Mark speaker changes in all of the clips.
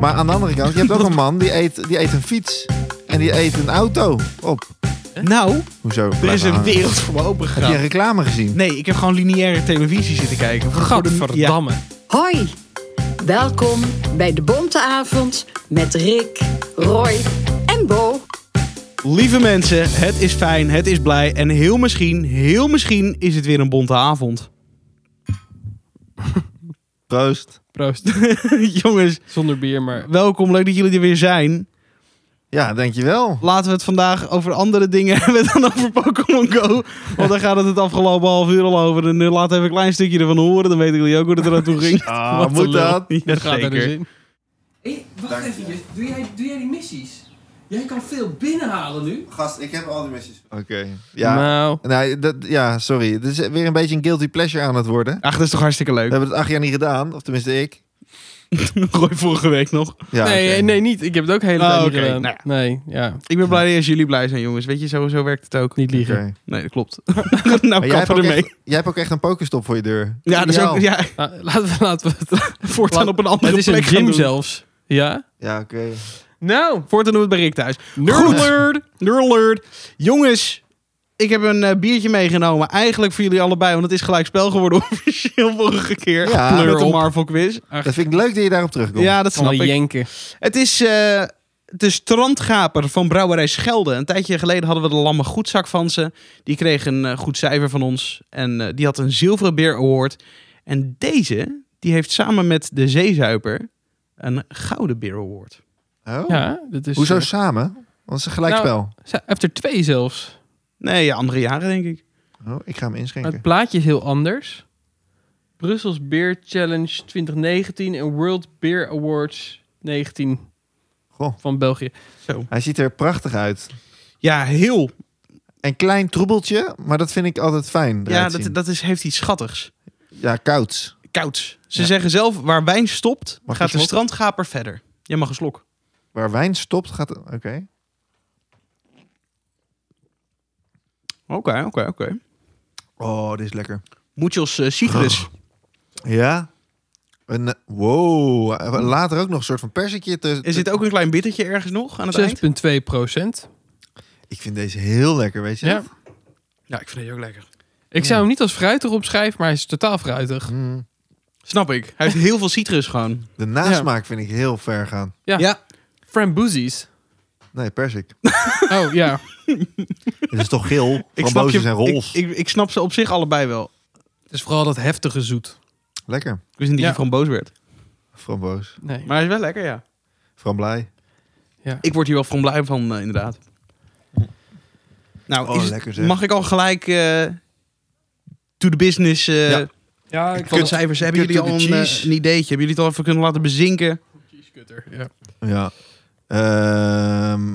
Speaker 1: Maar aan de andere kant, je hebt ook een man die eet, die eet een fiets. En die eet een auto op.
Speaker 2: Nou,
Speaker 1: Hoezo?
Speaker 2: er is
Speaker 1: Blijf
Speaker 2: een
Speaker 1: hangen.
Speaker 2: wereld voor me opengegaan.
Speaker 1: Heb je reclame gezien?
Speaker 2: Nee, ik heb gewoon lineaire televisie zitten kijken. Voor de- voor de- ja.
Speaker 3: Godverdamme.
Speaker 4: Hoi, welkom bij de Bonte Avond met Rick, Roy en Bo.
Speaker 2: Lieve mensen, het is fijn, het is blij. En heel misschien, heel misschien is het weer een bonte avond.
Speaker 1: Proost.
Speaker 3: Proost.
Speaker 2: Jongens,
Speaker 3: Zonder bier, maar...
Speaker 2: welkom. Leuk dat jullie er weer zijn.
Speaker 1: Ja, dankjewel.
Speaker 2: Laten we het vandaag over andere dingen hebben dan over Pokémon Go. Want daar gaat het het afgelopen half uur al over. En eh, laat even een klein stukje ervan horen. Dan weten jullie ook hoe het er naartoe ging.
Speaker 1: Ah,
Speaker 3: Wat een
Speaker 1: moet
Speaker 3: lul.
Speaker 1: dat?
Speaker 3: Dat gaat er dus
Speaker 2: Jazeker.
Speaker 3: in.
Speaker 5: Hé, wacht even. Doe jij, doe jij die missies? Jij kan veel binnenhalen nu.
Speaker 6: Gast, ik heb al die missies.
Speaker 1: Oké. Ja.
Speaker 3: Nou,
Speaker 1: Nee, dat, ja, sorry. Het is weer een beetje een guilty pleasure aan het worden.
Speaker 2: Ach, dat is toch hartstikke
Speaker 1: We
Speaker 2: leuk.
Speaker 1: hebben het acht jaar niet gedaan. Of tenminste ik.
Speaker 2: Gooi vorige week nog.
Speaker 1: Ja,
Speaker 3: nee, eh,
Speaker 1: oké.
Speaker 3: nee, niet. Ik heb het ook hele
Speaker 2: Oh,
Speaker 3: tijd niet
Speaker 2: oké.
Speaker 3: gedaan.
Speaker 2: Nou ja.
Speaker 3: Nee, Ah, ja.
Speaker 2: Ik ben blij als jullie blij zijn, jongens. Weet je, sowieso werkt het ook.
Speaker 3: Niet liegen.
Speaker 1: Oké.
Speaker 2: Nee, dat klopt. nou,
Speaker 1: Maar jij hebt,
Speaker 2: kappen
Speaker 1: ook
Speaker 2: ermee.
Speaker 1: echt, jij hebt ook echt een pokerstop voor je deur.
Speaker 2: Ja, dat is
Speaker 1: Ideaal.
Speaker 2: ook... Ja,
Speaker 3: Nou, laten, we, laten we het...
Speaker 2: voortaan
Speaker 3: Laat-
Speaker 2: op een andere
Speaker 3: Het is een
Speaker 2: plek gaan
Speaker 3: gym
Speaker 2: doen.
Speaker 3: zelfs. Ja?
Speaker 1: Ja, oké.
Speaker 3: Nou,
Speaker 2: Voortaan doen we het bij Rick thuis.
Speaker 3: nerd
Speaker 2: Goed.
Speaker 3: alert.
Speaker 2: Nerd alert. Jongens, ik heb een eh, biertje meegenomen. Eigenlijk voor jullie allebei, want het is gelijk spel geworden officieel vorige keer.
Speaker 1: Ja.
Speaker 2: met
Speaker 3: Pleur
Speaker 2: de
Speaker 3: op.
Speaker 2: Marvel quiz.
Speaker 1: Dat vind ik leuk dat je daarop terugkomt.
Speaker 2: Ja, dat snap
Speaker 3: Allemaal
Speaker 2: ik.
Speaker 3: jenken.
Speaker 2: Het is eh, de strandgaper van Brouwerij Schelde. Een tijdje geleden hadden we de Lamme Goedzak van ze. Die kreeg een eh, goed cijfer van ons. En eh, die had een Zilveren Beer Award. En deze, die heeft samen met de Zeezuiper een Gouden Beer Award.
Speaker 1: Oh.
Speaker 3: Ja, dat
Speaker 2: dus,
Speaker 3: is...
Speaker 1: Hoezo
Speaker 3: eh,
Speaker 1: samen? Want het is een gelijkspel.
Speaker 3: ze- Hij heeft er twee zelfs.
Speaker 2: Nee, ja, andere jaren denk ik.
Speaker 1: Oh, ik ga hem
Speaker 3: Maar
Speaker 1: inschenken.
Speaker 3: het plaatje is heel anders. Brussels Beer Challenge 2019 en World Beer Awards 19
Speaker 1: Goh.
Speaker 3: van België.
Speaker 1: Hij ziet er prachtig uit.
Speaker 2: Ja, heel.
Speaker 1: Een klein troebeltje, maar dat vind ik altijd fijn.
Speaker 2: Ja,
Speaker 1: eruit
Speaker 2: dat,
Speaker 1: zien.
Speaker 2: dat is, heeft iets schattigs.
Speaker 1: ja kouds.
Speaker 2: Kouds. Ze
Speaker 1: Ja.
Speaker 2: zeggen zelf, waar wijn stopt,
Speaker 1: een
Speaker 2: gaat de
Speaker 1: slok?
Speaker 2: strandgaper verder. Jij mag een slok.
Speaker 1: Waar wijn stopt, gaat... Oké.
Speaker 2: Oké, oké, oké.
Speaker 1: Oh, dit is lekker.
Speaker 2: Muchos eh, citrus.
Speaker 1: Ja? Een, eh, wow. Later ook nog een soort van persikje. Te,
Speaker 2: Er zit ook een klein bittertje ergens nog aan het eind.
Speaker 3: 6,2 procent.
Speaker 1: Ik vind deze heel lekker, weet je
Speaker 3: Ja.
Speaker 1: dat?
Speaker 2: Ja, ik vind het ook lekker.
Speaker 3: Ik zou hem niet als fruitig opschrijven, maar hij is totaal fruitig.
Speaker 1: Mm.
Speaker 2: Snap ik. Hij heeft heel veel citrus gewoon.
Speaker 1: De nasmaak vind ik heel ver gaan.
Speaker 3: Ja.
Speaker 2: Ja.
Speaker 3: Framboesies.
Speaker 1: Nee, persik.
Speaker 3: Oh ja.
Speaker 1: Het is toch geel? Frambozen zijn rols.
Speaker 2: Ik, ik, ik snap ze op zich allebei wel.
Speaker 3: Het is vooral dat heftige zoet.
Speaker 1: Lekker.
Speaker 2: Ik wist niet dat
Speaker 3: Ja.
Speaker 2: je framboos werd.
Speaker 1: Framboos.
Speaker 3: Nee.
Speaker 2: Maar hij is wel lekker, ja.
Speaker 1: Framblij.
Speaker 2: Ik word hier wel van blij van, eh, inderdaad. Nou,
Speaker 1: Oh,
Speaker 2: is het-
Speaker 1: lekker zeg.
Speaker 2: mag ik al gelijk eh to the business eh
Speaker 1: Ja.
Speaker 3: Ja, ik
Speaker 2: van de cijfers? Hebben
Speaker 1: cut
Speaker 2: jullie
Speaker 1: to
Speaker 2: al
Speaker 1: the
Speaker 2: een, eh,
Speaker 1: cheese.
Speaker 2: een ideetje? Hebben jullie het al even kunnen laten bezinken?
Speaker 3: Ja.
Speaker 1: Ja. Ehm,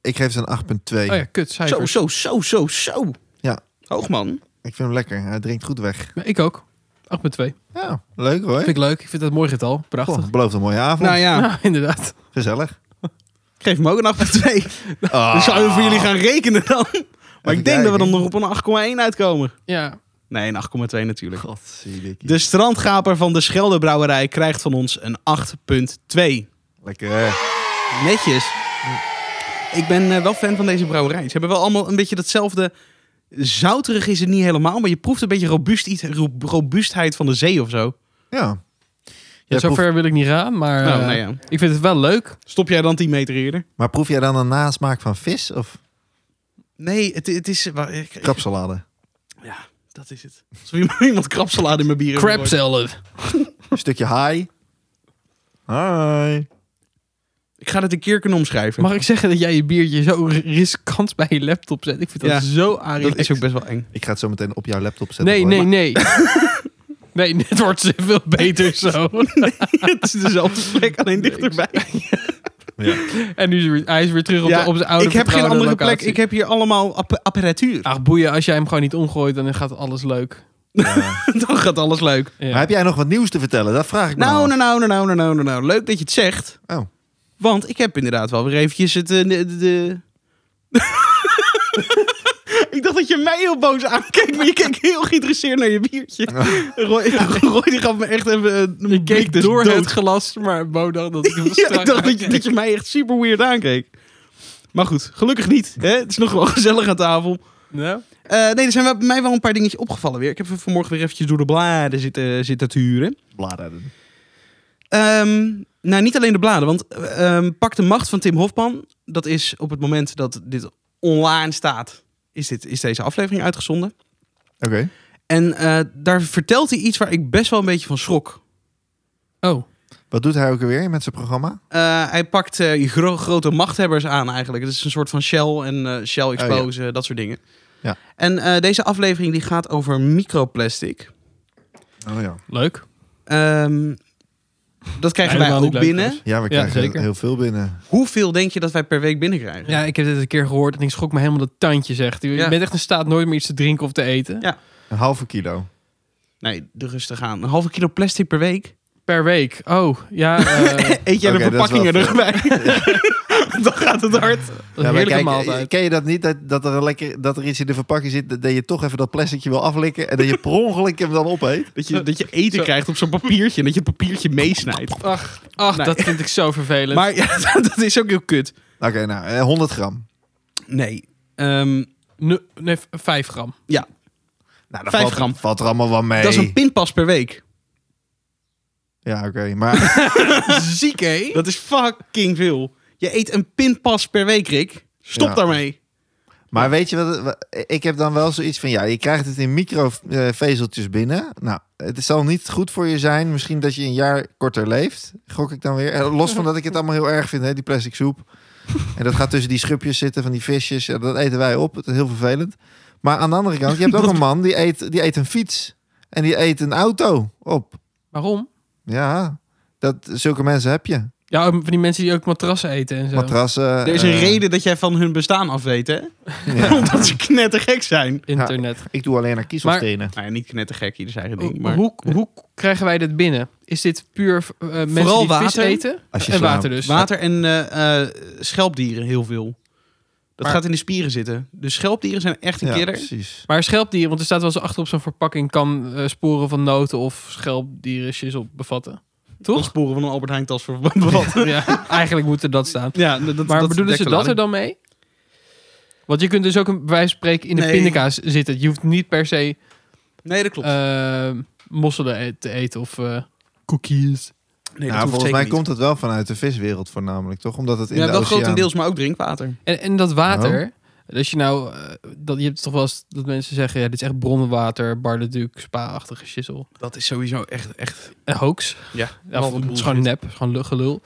Speaker 1: ik geef ze een 8,2.
Speaker 2: eh,
Speaker 3: Oh ja, kut
Speaker 2: Zo,
Speaker 3: cijfers.
Speaker 2: zo, zo, zo, zo.
Speaker 1: Ja.
Speaker 2: Hoog, man.
Speaker 1: Ik vind hem lekker. Hij drinkt goed weg.
Speaker 3: Ja, Ik ook. 8,2.
Speaker 1: Ja, leuk hoor.
Speaker 3: Vind ik leuk. Ik vind dat een mooi getal. Prachtig.
Speaker 1: Goh, belooft een mooie avond.
Speaker 2: Nou ja,
Speaker 3: Ja, inderdaad.
Speaker 1: Gezellig.
Speaker 2: geef hem ook een 8,2.
Speaker 1: Ah.
Speaker 2: Dan Dus zouden we voor jullie gaan rekenen dan. Maar ik denk dat we dan nog op een 8,1 uitkomen.
Speaker 3: Ja.
Speaker 2: Nee, een 8,2 natuurlijk.
Speaker 1: Godzielikkie.
Speaker 2: De strandgaper van de Scheldebrouwerij krijgt van ons een 8,2.
Speaker 1: Lekker.
Speaker 2: Netjes. Ik ben eh, wel fan van deze brouwerij. Ze hebben wel allemaal een beetje datzelfde... Zouterig is het niet helemaal, maar je proeft een beetje robuust iets, ro- robuustheid van de zee of zo.
Speaker 1: Ja.
Speaker 3: ja
Speaker 1: Jij
Speaker 3: zover
Speaker 1: proeft-
Speaker 3: wil ik niet gaan, maar
Speaker 2: nou,
Speaker 3: eh,
Speaker 2: nou ja.
Speaker 3: ik vind het wel leuk.
Speaker 2: Stop jij dan 10 meter eerder?
Speaker 1: Maar proef jij dan een nasmaak van vis of
Speaker 2: Nee, het, het is... wa- ik- ik-
Speaker 1: krapsalade?
Speaker 2: Ja, dat is het. Alsof iemand- iemand krapsalade in mijn bier heeft
Speaker 3: Crab
Speaker 2: gegooid.
Speaker 3: salad.
Speaker 1: Een stukje haai. Hi.
Speaker 2: Ik ga dat een keer kunnen omschrijven.
Speaker 3: Mag ik zeggen dat jij je biertje zo riskant bij je laptop zet? Ik vind dat
Speaker 2: Ja.
Speaker 3: zo aardig.
Speaker 2: dat is ook best wel eng.
Speaker 1: Ik ga het zo meteen op jouw laptop zetten.
Speaker 3: Nee,
Speaker 1: hoor.
Speaker 3: nee, nee. nee, dit wordt veel beter zo.
Speaker 2: Het is dezelfde plek, alleen dichterbij.
Speaker 1: Ja.
Speaker 3: en nu is hij weer- hij is weer terug op, de, op zijn oude
Speaker 2: ik heb geen
Speaker 3: vertrouwde
Speaker 2: andere
Speaker 3: locatie.
Speaker 2: plek. Ik heb hier allemaal app- apparatuur.
Speaker 3: Ach, boeien, als jij hem gewoon niet omgooit, dan gaat alles leuk.
Speaker 1: Ja.
Speaker 3: Ah,
Speaker 2: Dan gaat alles leuk.
Speaker 3: Ja.
Speaker 1: Maar heb jij nog wat nieuws te vertellen? Dat vraag ik me
Speaker 2: Nou,
Speaker 1: af.
Speaker 2: nou, nou, nou, nou, nou, nou, nou, nou. Leuk dat je het zegt.
Speaker 1: Oh.
Speaker 2: Want ik heb inderdaad wel weer eventjes het... eh, de, de- Ik dacht dat je mij heel boos aankeek, maar je keek heel geïnteresseerd naar je biertje. Roy, Roy die gaf me echt even een
Speaker 3: Ik
Speaker 2: blik,
Speaker 3: keek
Speaker 2: dus
Speaker 3: door
Speaker 2: dood.
Speaker 3: het glas, maar Bo dacht dat ik hem
Speaker 2: Ja,
Speaker 3: strak
Speaker 2: ik dacht dat je,
Speaker 3: aankeek.
Speaker 2: dat je mij echt super weird aankeek. Maar goed, gelukkig niet. Hè? Het is nog wel gezellig aan tafel.
Speaker 3: Nou,
Speaker 2: Eh, nee, er zijn wel- bij mij wel een paar dingetjes opgevallen weer. Ik heb vanmorgen weer eventjes door de bladen zitten, zitten turen.
Speaker 1: Bladeren.
Speaker 2: Ehm, nou, niet alleen de bladen, want eh, ehm, Pak de Macht van Tim Hofman. Dat is op het moment dat dit online staat, is, dit, is deze aflevering uitgezonden.
Speaker 1: Oké.
Speaker 2: En eh, daar vertelt hij iets waar ik best wel een beetje van schrok.
Speaker 3: Oh,
Speaker 1: Wat doet hij ook alweer met zijn programma?
Speaker 2: Eh, hij pakt eh, gro- grote machthebbers aan eigenlijk. Het is een soort van Shell en eh, Shell Expose, eh, dat soort dingen.
Speaker 1: Ja.
Speaker 2: En eh, deze aflevering die gaat over microplastic.
Speaker 1: Oh ja.
Speaker 3: leuk.
Speaker 2: Ehm, dat krijgen
Speaker 3: Helemaal
Speaker 2: wij
Speaker 3: niet
Speaker 2: ook
Speaker 3: leuk,
Speaker 2: binnen.
Speaker 3: trouwens.
Speaker 1: Ja, we
Speaker 3: Ja,
Speaker 1: krijgen
Speaker 3: zeker.
Speaker 1: heel veel binnen.
Speaker 2: Hoeveel denk je dat wij per week binnenkrijgen?
Speaker 3: Ja, ik heb dit een keer gehoord en ik schrok me helemaal dat tandje zegt. Je
Speaker 2: Ja.
Speaker 3: bent echt in staat nooit meer iets te drinken of te eten.
Speaker 2: Ja.
Speaker 1: Een halve kilo.
Speaker 2: Nee, de rustig aan. Een halve kilo plastic per week.
Speaker 3: Per week. Oh, ja. eh,
Speaker 2: Eet jij
Speaker 1: Oké,
Speaker 2: de
Speaker 1: dat is
Speaker 2: verpakkingen
Speaker 1: wel
Speaker 2: erbij? Dan gaat het hard.
Speaker 3: dat is een
Speaker 1: maar
Speaker 3: heerlijke
Speaker 1: kijk,
Speaker 2: eh,
Speaker 3: maaltijd.
Speaker 1: Ken je dat niet? Dat, dat, er lekker, dat er iets in de verpakking zit dat dat je toch even dat plasticje wil aflikken en dat je per ongeluk hem dan opeet?
Speaker 2: Dat je, dat je eten
Speaker 3: Zo.
Speaker 2: krijgt op zo'n papiertje en dat je het papiertje meesnijdt.
Speaker 3: Ach, ach
Speaker 2: Nee.
Speaker 3: dat vind ik zo vervelend.
Speaker 2: Maar ja, dat, dat is ook heel kut.
Speaker 1: Oké, nou, eh, 100 gram.
Speaker 2: Nee. Ehm,
Speaker 3: Nu- nee, v- vijf gram.
Speaker 2: ja,
Speaker 1: Nou, dat
Speaker 2: Vijf
Speaker 1: valt,
Speaker 2: gram.
Speaker 1: valt er allemaal wel mee.
Speaker 2: dat is een pinpas per week.
Speaker 1: Ja, oké. Maar
Speaker 3: Ziek, hé?
Speaker 2: Dat is fucking veel. Je eet een pinpas per week, Rick. Stop
Speaker 1: Ja.
Speaker 2: daarmee.
Speaker 1: Maar weet je wat? wat- Ik heb dan wel zoiets van, ja, je krijgt het in microvezeltjes binnen. Nou, het zal niet goed voor je zijn. Misschien dat je een jaar korter leeft, gok ik dan weer. Eh, Los van dat ik het allemaal heel erg vind, hè, die plastic soep. En dat gaat tussen die schupjes zitten van die visjes. Ja, dat eten wij op. Het is heel vervelend. Maar aan de andere kant, je hebt ook een man die eet, die eet een fiets. En die eet een auto op.
Speaker 3: Waarom?
Speaker 1: Ja, dat, zulke mensen heb je.
Speaker 3: Ja, van die mensen die ook matrassen eten en zo.
Speaker 1: Matrassen.
Speaker 2: Er is een
Speaker 1: eh,
Speaker 2: reden dat jij van hun bestaan af weet, hè?
Speaker 1: ja.
Speaker 2: Omdat ze knettergek zijn.
Speaker 3: Internet.
Speaker 1: Ik doe alleen naar kiezelstenen.
Speaker 2: Nou ja, niet knettergek, ieder zijn
Speaker 3: Hoe-
Speaker 2: ding. Maar
Speaker 3: hoe, hoe krijgen wij dit binnen? Is dit puur eh, mensen
Speaker 2: Vooral
Speaker 3: die vis
Speaker 2: water.
Speaker 3: eten?
Speaker 1: Als je
Speaker 3: en
Speaker 1: slaapt.
Speaker 3: water dus.
Speaker 2: water en eh, eh, schelpdieren heel veel. Dat
Speaker 3: Maar-
Speaker 2: gaat in de spieren zitten. Dus schelpdieren zijn echt een
Speaker 1: Ja,
Speaker 2: killer.
Speaker 1: precies.
Speaker 3: Maar schelpdieren, want er staat wel eens achter op zo'n verpakking... kan eh, sporen van noten of schelpdierensjes op bevatten.
Speaker 2: Toch? sporen van een Albert Heijn tas voor bevatten.
Speaker 3: ja, eigenlijk moet er dat staan.
Speaker 2: Ja, dat, dat-
Speaker 3: Maar
Speaker 2: dat
Speaker 3: bedoelen
Speaker 2: dekt
Speaker 3: ze
Speaker 2: de
Speaker 3: dat er
Speaker 2: lading.
Speaker 3: dan mee? Want je kunt dus ook een bij wijze van spreken in de
Speaker 2: Nee.
Speaker 3: pindakaas zitten. Je hoeft niet per se
Speaker 2: Nee, dat klopt.
Speaker 3: eh, mosselen e- te eten of eh, cookies.
Speaker 2: nee, dat
Speaker 1: nou,
Speaker 2: hoeft
Speaker 1: volgens
Speaker 2: zeker
Speaker 1: mij
Speaker 2: niet.
Speaker 1: komt het wel vanuit de viswereld voornamelijk, toch? Omdat het in
Speaker 2: ja,
Speaker 1: de
Speaker 2: wel
Speaker 1: oceaan...
Speaker 2: grotendeels, maar ook drinkwater.
Speaker 3: En, en dat
Speaker 2: Oh.
Speaker 3: water, als je nou, eh, dat, je hebt toch wel eens dat mensen zeggen, ja, dit is echt bronnenwater, Bar le Duc, spa-achtige shizzle.
Speaker 2: Dat is sowieso echt... echt
Speaker 3: Een hoax.
Speaker 2: ja,
Speaker 3: Ja, of het is gewoon nep, het is gewoon lu- gelul.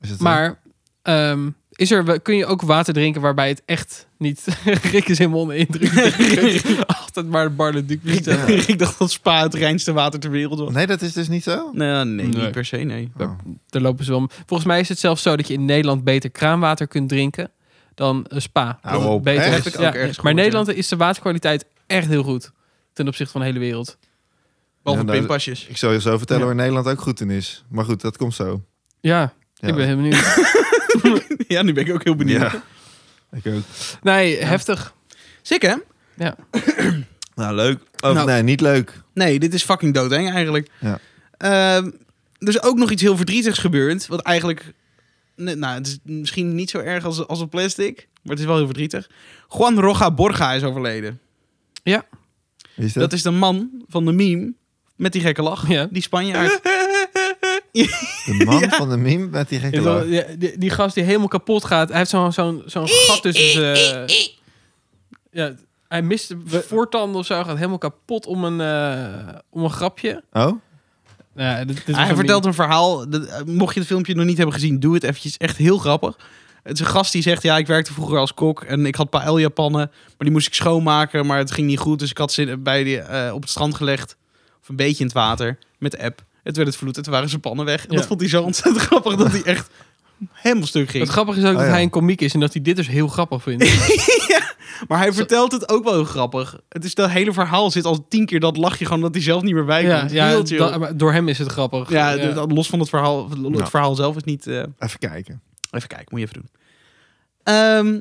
Speaker 1: Is het, eh,
Speaker 3: Maar ehm, is er, wel- kun je ook water drinken waarbij het echt niet... Rick is helemaal onder indruk. Altijd maar Bar le Duc bestellen.
Speaker 2: Ik dacht dat Spa het reinste water ter wereld was.
Speaker 1: Nee, dat is dus niet zo?
Speaker 2: Nee, Nou, nee,
Speaker 3: Nee.
Speaker 2: niet per se, nee.
Speaker 1: Oh.
Speaker 3: Daar lopen ze wel. om. Volgens mij is het zelfs zo dat je in Nederland beter kraanwater kunt drinken dan een spa.
Speaker 1: Hou
Speaker 3: Dat het
Speaker 1: op,
Speaker 3: beter
Speaker 1: echt?
Speaker 3: is.
Speaker 2: Heb ik ook
Speaker 3: Ja,
Speaker 2: ergens gehoord,
Speaker 3: maar in Nederland is de waterkwaliteit echt heel goed ten opzichte van de hele wereld.
Speaker 2: Behalve
Speaker 1: Ja, nou,
Speaker 2: pinpasjes.
Speaker 1: Ik zal je zo vertellen
Speaker 3: Ja.
Speaker 1: waar Nederland ook goed in is. Maar goed, dat komt zo.
Speaker 3: Ja,
Speaker 1: Ja.
Speaker 3: ik ben heel benieuwd.
Speaker 2: ja, nu ben ik ook heel benieuwd.
Speaker 1: Ja. Ik ook.
Speaker 3: Nee, heftig.
Speaker 2: Sick, hè?
Speaker 3: Ja.
Speaker 1: Nou, leuk. Of
Speaker 2: Nou.
Speaker 1: nee, niet leuk.
Speaker 2: Nee, dit is fucking doodeng eigenlijk.
Speaker 1: Ja.
Speaker 2: Ehm, er is ook nog iets heel verdrietigs gebeurd. Wat eigenlijk... Nee, nou, het is misschien niet zo erg als, als een plastic. Maar het is wel heel verdrietig. Juan Roja Borga is overleden.
Speaker 1: Is dat?
Speaker 2: Dat is de man van de meme. Met die gekke lach.
Speaker 3: Ja.
Speaker 2: Die Spanjaard.
Speaker 1: De man van de meme met die gekke lach.
Speaker 3: Ja, die, die gast die helemaal kapot gaat, hij heeft zo'n zo'n
Speaker 2: Eh,
Speaker 3: zo'n gat tussen zijn... eh, Ja, hij mist de voortanden of zo, gaat helemaal kapot om een, eh, om een grapje.
Speaker 1: Oh?
Speaker 3: Nou ja, dit, dit was
Speaker 2: Hij
Speaker 3: een
Speaker 2: vertelt een verhaal. dat- eh, mocht je het filmpje nog niet hebben gezien, doe het eventjes. Echt heel grappig. Het is een gast die zegt, ja, ik werkte vroeger als kok en ik had paella-pannen, maar die moest ik schoonmaken, maar het ging niet goed. Dus ik had ze bij die, eh, op het strand gelegd, of een beetje in het water, met de app. Het werd het vloed, het waren zijn pannen weg. En
Speaker 3: Ja.
Speaker 2: dat vond hij zo ontzettend grappig dat hij echt helemaal stuk
Speaker 3: Het
Speaker 2: ging.
Speaker 3: grappige is ook
Speaker 1: Oh,
Speaker 3: dat
Speaker 1: ja.
Speaker 3: hij een komiek is en dat hij dit dus heel grappig vindt.
Speaker 2: Maar hij vertelt het ook wel heel grappig. Het is dat hele verhaal zit al tien keer dat lachje gewoon dat hij zelf niet meer bij
Speaker 3: ja,
Speaker 2: komt.
Speaker 3: ja
Speaker 2: Heel chill.
Speaker 3: da- maar door hem is het grappig.
Speaker 2: ja, dat- los van het verhaal, het
Speaker 1: Nou.
Speaker 2: verhaal zelf is niet... eh,
Speaker 1: Even kijken.
Speaker 2: Even kijken, moet je even doen. Ehm,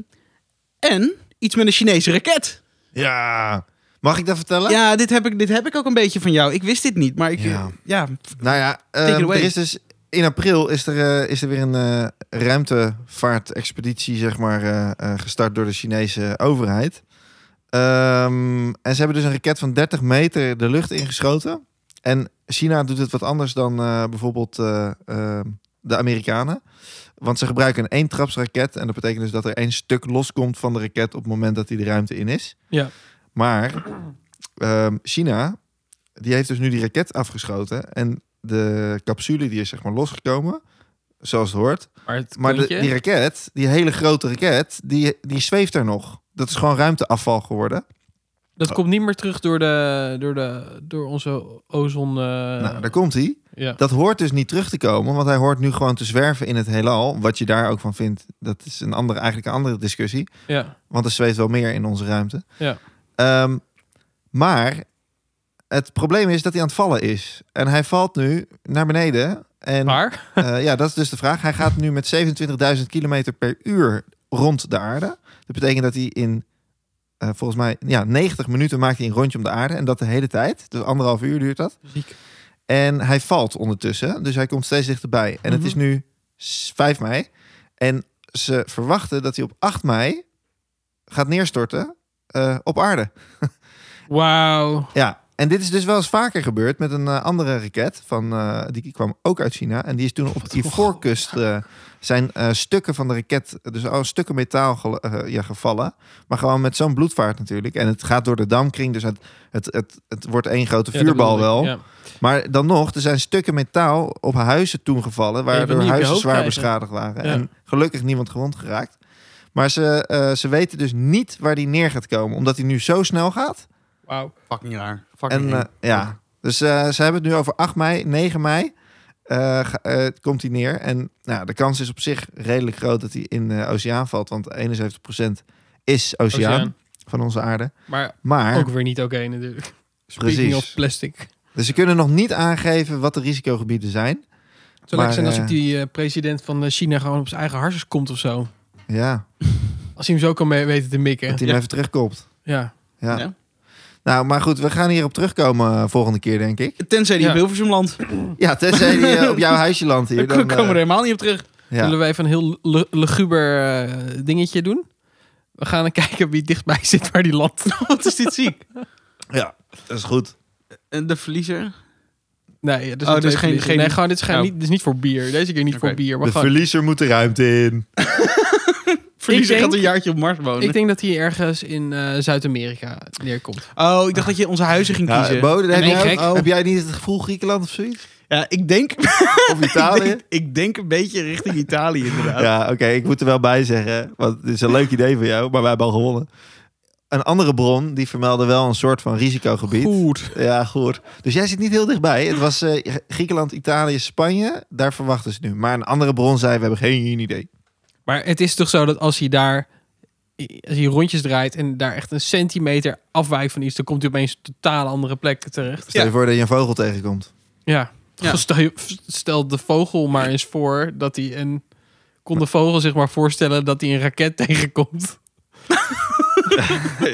Speaker 2: en iets met een Chinese raket.
Speaker 1: Ja. Mag ik dat vertellen?
Speaker 2: Ja, dit heb, ik, dit heb ik ook een beetje van jou. Ik wist dit niet, maar ik... eh,
Speaker 1: Ja.
Speaker 2: Ja,
Speaker 1: Nou ja, eh,
Speaker 2: Take it away.
Speaker 1: er is dus in april is er, eh, is er weer een eh, ruimtevaartexpeditie zeg maar, eh, eh, gestart door de Chinese overheid. Ehm, en ze hebben dus een raket van 30 meter de lucht ingeschoten. En China doet het wat anders dan eh, bijvoorbeeld eh, ehm, de Amerikanen. Want ze gebruiken een eentrapsraket. En dat betekent dus dat er één stuk loskomt van de raket op het moment dat die de ruimte in is.
Speaker 3: Ja.
Speaker 1: Maar ehm, China, die heeft dus nu die raket afgeschoten. En de capsule die is zeg maar losgekomen, zoals het hoort.
Speaker 3: Maar het
Speaker 1: Maar de,
Speaker 3: kontje-
Speaker 1: die raket, die hele grote raket, die, die zweeft er nog. Dat is gewoon ruimteafval geworden.
Speaker 3: dat komt niet meer terug door, de, door, de, door onze ozon... eh,
Speaker 1: nou, daar komt hij.
Speaker 3: ja.
Speaker 1: Dat hoort dus niet terug te komen, want hij hoort nu gewoon te zwerven in het heelal. Wat je daar ook van vindt, dat is een andere, eigenlijk een andere discussie.
Speaker 3: ja.
Speaker 1: Want er zweeft wel meer in onze ruimte.
Speaker 3: Ja.
Speaker 1: Ehm, maar het probleem is dat hij aan het vallen is. En hij valt nu naar beneden. En
Speaker 3: Maar,
Speaker 1: eh, ja, dat is dus de vraag. Hij gaat nu met 27.000 kilometer per uur rond de aarde. Dat betekent dat hij in, eh, volgens mij, ja, 90 minuten maakt hij een rondje om de aarde. En dat de hele tijd. Dus anderhalf uur duurt dat.
Speaker 3: ziek.
Speaker 1: En hij valt ondertussen. Dus hij komt steeds dichterbij. En het
Speaker 3: Mhm.
Speaker 1: is nu s- 5 mei. En ze verwachten dat hij op 8 mei gaat neerstorten eh, op aarde.
Speaker 3: Wauw.
Speaker 1: Ja, en dit is dus wel eens vaker gebeurd met een eh, andere raket. Van, eh, die kwam ook uit China. En die is toen op die voorkust... eh, zijn eh, stukken van de raket, dus al stukken metaal gel- eh, ja, gevallen. Maar gewoon met zo'n bloedvaart natuurlijk. En het gaat door de damkring, dus het, het, het, het wordt één grote
Speaker 3: Ja, dat
Speaker 1: vuurbal
Speaker 3: bedoelde ik,
Speaker 1: wel.
Speaker 3: ja.
Speaker 1: Maar dan nog, er zijn stukken metaal op huizen toen gevallen,
Speaker 3: wil
Speaker 1: waardoor
Speaker 3: niet op je
Speaker 1: huizen
Speaker 3: hoofd
Speaker 1: zwaar
Speaker 3: krijgen.
Speaker 1: beschadigd waren.
Speaker 3: Ja.
Speaker 1: En gelukkig niemand gewond geraakt. Maar ze, eh, ze weten dus niet waar die neer gaat komen, omdat hij nu zo snel gaat.
Speaker 3: Wauw.
Speaker 2: Fucking raar.
Speaker 1: En
Speaker 2: Fucking
Speaker 1: eh, ja, dus eh, ze hebben het nu over 8 mei, 9 mei. eh, ga- eh, komt hij neer. En nou, de kans is op zich redelijk groot dat hij in de oceaan valt, want 71% is oceaan,
Speaker 3: Oceaan.
Speaker 1: van onze aarde.
Speaker 3: Maar
Speaker 1: Maar,
Speaker 3: ook weer niet oké natuurlijk. Speaking
Speaker 1: Precies.
Speaker 3: of plastic.
Speaker 1: dus ze kunnen nog niet aangeven wat de risicogebieden zijn.
Speaker 3: Het zou leuk
Speaker 1: Maar,
Speaker 3: zijn als
Speaker 1: eh,
Speaker 3: ook die eh, president van eh, China gewoon op zijn eigen harsjes komt of zo.
Speaker 1: Ja,
Speaker 3: Als hij hem zo kan mee weten te mikken.
Speaker 1: dat hij hem even terugkomt.
Speaker 3: Ja.
Speaker 1: Ja.
Speaker 2: Ja.
Speaker 1: Nou, maar goed, we gaan hierop terugkomen eh, volgende keer, denk ik.
Speaker 2: Tenzij die
Speaker 3: Ja.
Speaker 2: op Hilversum landt.
Speaker 1: Ja, tenzij die eh, op jouw huisje landt hier.
Speaker 2: Daar
Speaker 1: Dan,
Speaker 2: komen we er
Speaker 1: eh,
Speaker 2: helemaal niet op terug.
Speaker 1: ja.
Speaker 3: Zullen wij even een heel lu- luguber eh, dingetje doen? We gaan kijken wie dichtbij zit waar die landt.
Speaker 2: Wat is dit ziek?
Speaker 1: ja, dat is goed.
Speaker 2: En de verliezer?
Speaker 3: Nee, ja, dus
Speaker 2: Oh, dit is geen-
Speaker 3: geen,
Speaker 2: geen-
Speaker 3: nee, gewoon, dit, is geen,
Speaker 2: Oh.
Speaker 3: niet, dit is niet voor bier. Deze keer niet
Speaker 2: Oké.
Speaker 3: voor bier. Maar
Speaker 1: De
Speaker 3: gewoon,
Speaker 1: verliezer moet de ruimte in.
Speaker 2: Verliezer
Speaker 3: denk-
Speaker 2: gaat een jaartje op Mars wonen.
Speaker 3: ik denk dat hij ergens in eh, Zuid-Amerika neerkomt.
Speaker 2: Oh, ik dacht dat je onze huizen ging
Speaker 1: Ja,
Speaker 2: kiezen.
Speaker 1: Bo, heb,
Speaker 3: Nee,
Speaker 1: jij,
Speaker 3: gek.
Speaker 1: ook- heb jij niet het gevoel Griekenland of zoiets?
Speaker 2: Ja, ik denk,
Speaker 1: Of Italië?
Speaker 2: ik, ik denk een beetje richting Italië inderdaad.
Speaker 1: ja, oké, ik moet er wel bij zeggen, want het is een leuk idee van jou, maar wij hebben al gewonnen. Een andere bron, die vermeldde wel een soort van risicogebied.
Speaker 3: Goed.
Speaker 1: Ja, goed. Dus jij zit niet heel dichtbij. Het was eh, Griekenland, Italië, Spanje. Daar verwachten ze nu. Maar een andere bron zei, we hebben geen idee.
Speaker 3: Maar het is toch zo dat als hij daar als hij rondjes draait en daar echt een centimeter afwijkt van iets, dan komt hij opeens een totaal andere plek terecht.
Speaker 1: Stel je voor dat je een vogel tegenkomt.
Speaker 3: Ja.
Speaker 2: Ja.
Speaker 3: Stel, je- stel de vogel maar eens voor dat hij een. Kon de vogel zich maar voorstellen dat hij een raket tegenkomt?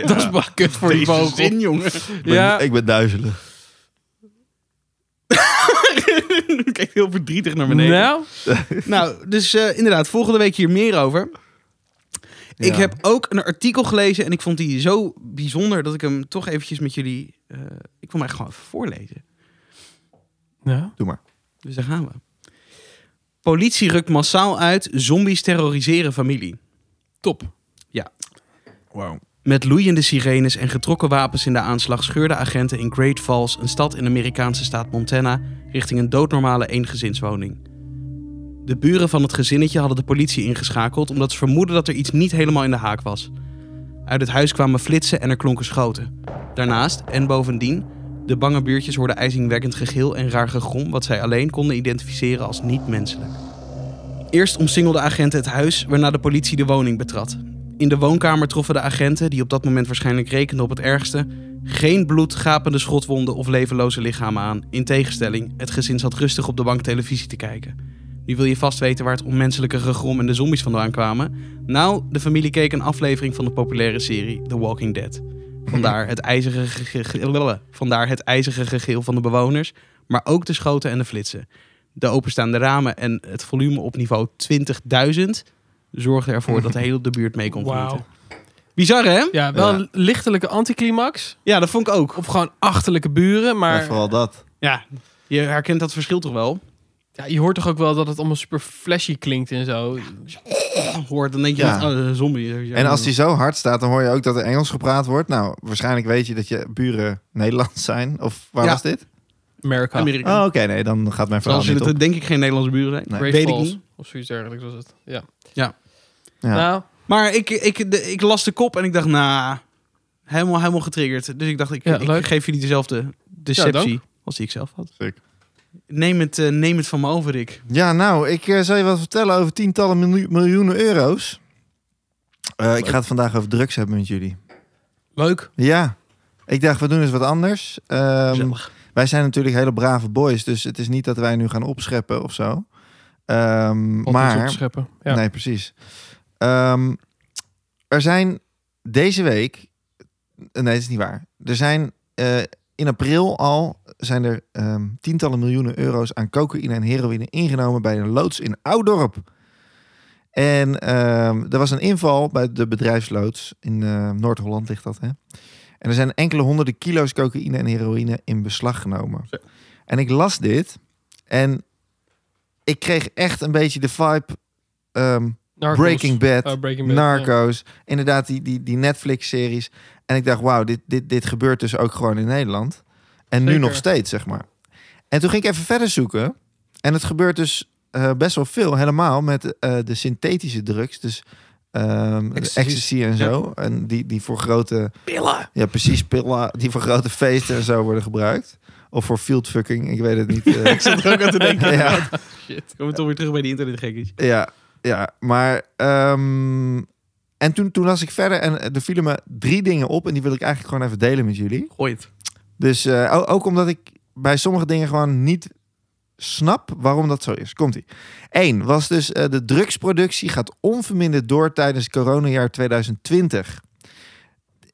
Speaker 3: Dat is wel kut voor die
Speaker 2: Deze
Speaker 3: vogel.
Speaker 2: zin, jongen.
Speaker 1: Ik ben-
Speaker 3: Ja,
Speaker 1: Ik ben duizelig.
Speaker 2: Kijk heel verdrietig naar beneden.
Speaker 3: nou,
Speaker 2: Nou, dus eh, inderdaad, volgende week hier meer over. Ik
Speaker 1: Ja.
Speaker 2: heb ook een artikel gelezen en ik vond die zo bijzonder dat ik hem toch eventjes met jullie... eh, ik wil hem eigenlijk gewoon even voorlezen.
Speaker 3: nou.
Speaker 1: Doe maar.
Speaker 2: Dus daar gaan we. Politie rukt massaal uit, zombies terroriseren familie.
Speaker 3: top.
Speaker 1: Wow.
Speaker 2: Met loeiende sirenes en getrokken wapens in de aanslag scheurden agenten in Great Falls, een stad in de Amerikaanse staat Montana, richting een doodnormale eengezinswoning. De buren van het gezinnetje hadden de politie ingeschakeld omdat ze vermoeden dat er iets niet helemaal in de haak was. Uit het huis kwamen flitsen en er klonken schoten. Daarnaast, en bovendien, de bange buurtjes hoorden ijzingwekkend gegil en raar gegrom wat zij alleen konden identificeren als niet menselijk. Eerst omsingelden agenten het huis, waarna de politie de woning betrad. In de woonkamer troffen de agenten, die op dat moment waarschijnlijk rekenden op het ergste, geen bloed, gapende schotwonden of levenloze lichamen aan. In tegenstelling, het gezin zat rustig op de bank televisie te kijken. Nu wil je vast weten waar het onmenselijke gegrom en de zombies vandaan kwamen. Nou, de familie keek een aflevering van de populaire serie The Walking Dead. Vandaar het ijzige gegil, vandaar het ijzige gegil van de bewoners. Maar ook de schoten en de flitsen. De openstaande ramen en het volume op niveau 20.000 zorgden ervoor dat heel de buurt mee kon genieten.
Speaker 3: Wauw.
Speaker 2: Bizar hè?
Speaker 3: Ja, wel
Speaker 1: Ja.
Speaker 3: een lichtelijke anticlimax.
Speaker 2: Ja, dat vond ik ook.
Speaker 3: Of gewoon achterlijke buren.
Speaker 1: Maar
Speaker 3: Maar ja,
Speaker 1: vooral dat.
Speaker 2: Ja, je herkent dat verschil toch wel?
Speaker 3: je hoort toch ook wel dat het allemaal super flashy klinkt en zo.
Speaker 2: Hoort, dan denk je,
Speaker 1: Ja.
Speaker 2: dat, oh, een zombie.
Speaker 1: En als die zo hard staat, dan hoor je ook dat er Engels gepraat wordt. Nou, waarschijnlijk weet je dat je buren Nederlands zijn. Of waar
Speaker 2: Ja.
Speaker 1: was dit?
Speaker 3: Amerika.
Speaker 1: Oh,
Speaker 2: Amerika.
Speaker 1: oké. nee, dan gaat mijn verhaal
Speaker 2: Terwijl
Speaker 1: niet
Speaker 2: zullen
Speaker 1: op.
Speaker 2: het eh, denk ik geen Nederlandse buren zijn.
Speaker 1: Nee.
Speaker 3: Great
Speaker 2: Weet
Speaker 3: Falls.
Speaker 2: ik niet.
Speaker 3: Of zoiets dergelijks was het. Ja.
Speaker 1: Ja.
Speaker 3: Nou,
Speaker 2: Maar ik, ik, de- ik las de kop en ik dacht, nou, helemaal, helemaal getriggerd. Dus ik dacht, ik,
Speaker 3: Ja,
Speaker 2: ik
Speaker 3: leuk.
Speaker 2: geef jullie dezelfde deceptie
Speaker 3: dank.
Speaker 2: als die ik zelf had.
Speaker 1: Sick.
Speaker 2: Neem het, eh, neem het van me over, Rick.
Speaker 1: Ja, nou, ik eh, zal je wat vertellen over tientallen miljoen- miljoenen euro's. Eh, ik ga het vandaag over drugs hebben met jullie.
Speaker 3: leuk.
Speaker 1: Ja, ik dacht, we doen eens wat anders. Ehm,
Speaker 2: Gezellig.
Speaker 1: wij zijn natuurlijk hele brave boys, dus het is niet dat wij nu gaan opscheppen of zo. Ehm,
Speaker 3: Wat maar,
Speaker 1: maar,
Speaker 3: opscheppen. Ja.
Speaker 1: Nee, precies. Ehm, er zijn deze week. eh, Nee, dat is niet waar. Er zijn eh, in april al zijn er ehm, tientallen miljoenen euro's aan cocaïne en heroïne ingenomen bij een loods in Oudorp. En ehm, er was een inval bij de bedrijfsloods. In eh, Noord-Holland ligt dat, hè? En er zijn enkele honderden kilo's cocaïne en heroïne in beslag genomen.
Speaker 2: Zo.
Speaker 1: En ik las dit en ik kreeg echt een beetje de vibe ehm,
Speaker 3: Narcos.
Speaker 1: Breaking Bad,
Speaker 3: Oh, Breaking Bad. ja.
Speaker 1: Narcos. Inderdaad, die, die, die Netflix-series. En ik dacht, wauw, dit, dit, dit gebeurt dus ook gewoon in Nederland. En nu
Speaker 3: Zeker.
Speaker 1: nog steeds, zeg maar. En toen ging ik even verder zoeken. En het gebeurt dus eh, best wel veel, helemaal met eh, de synthetische drugs. Dus ehm,
Speaker 3: Ecstasy.
Speaker 1: ecstasy en zo. En die, die voor grote... Pillen. Ja, precies, pillen. Die voor grote feesten en zo worden gebruikt. Of voor fieldfucking, ik weet het niet. eh.
Speaker 2: Ik zat er ook aan te denken.
Speaker 1: ja.
Speaker 2: Shit. Kom toch weer terug bij die internetgekkies.
Speaker 1: Ja, ja maar. ehm, en toen, toen las ik verder en eh, er vielen me drie dingen op. En die wil ik eigenlijk gewoon even delen met jullie.
Speaker 2: Gooi het.
Speaker 1: Dus eh, ook, ook omdat ik bij sommige dingen gewoon niet snap waarom dat zo is. Komt-ie. Eén was dus eh, de drugsproductie gaat onverminderd door tijdens coronajaar 2020.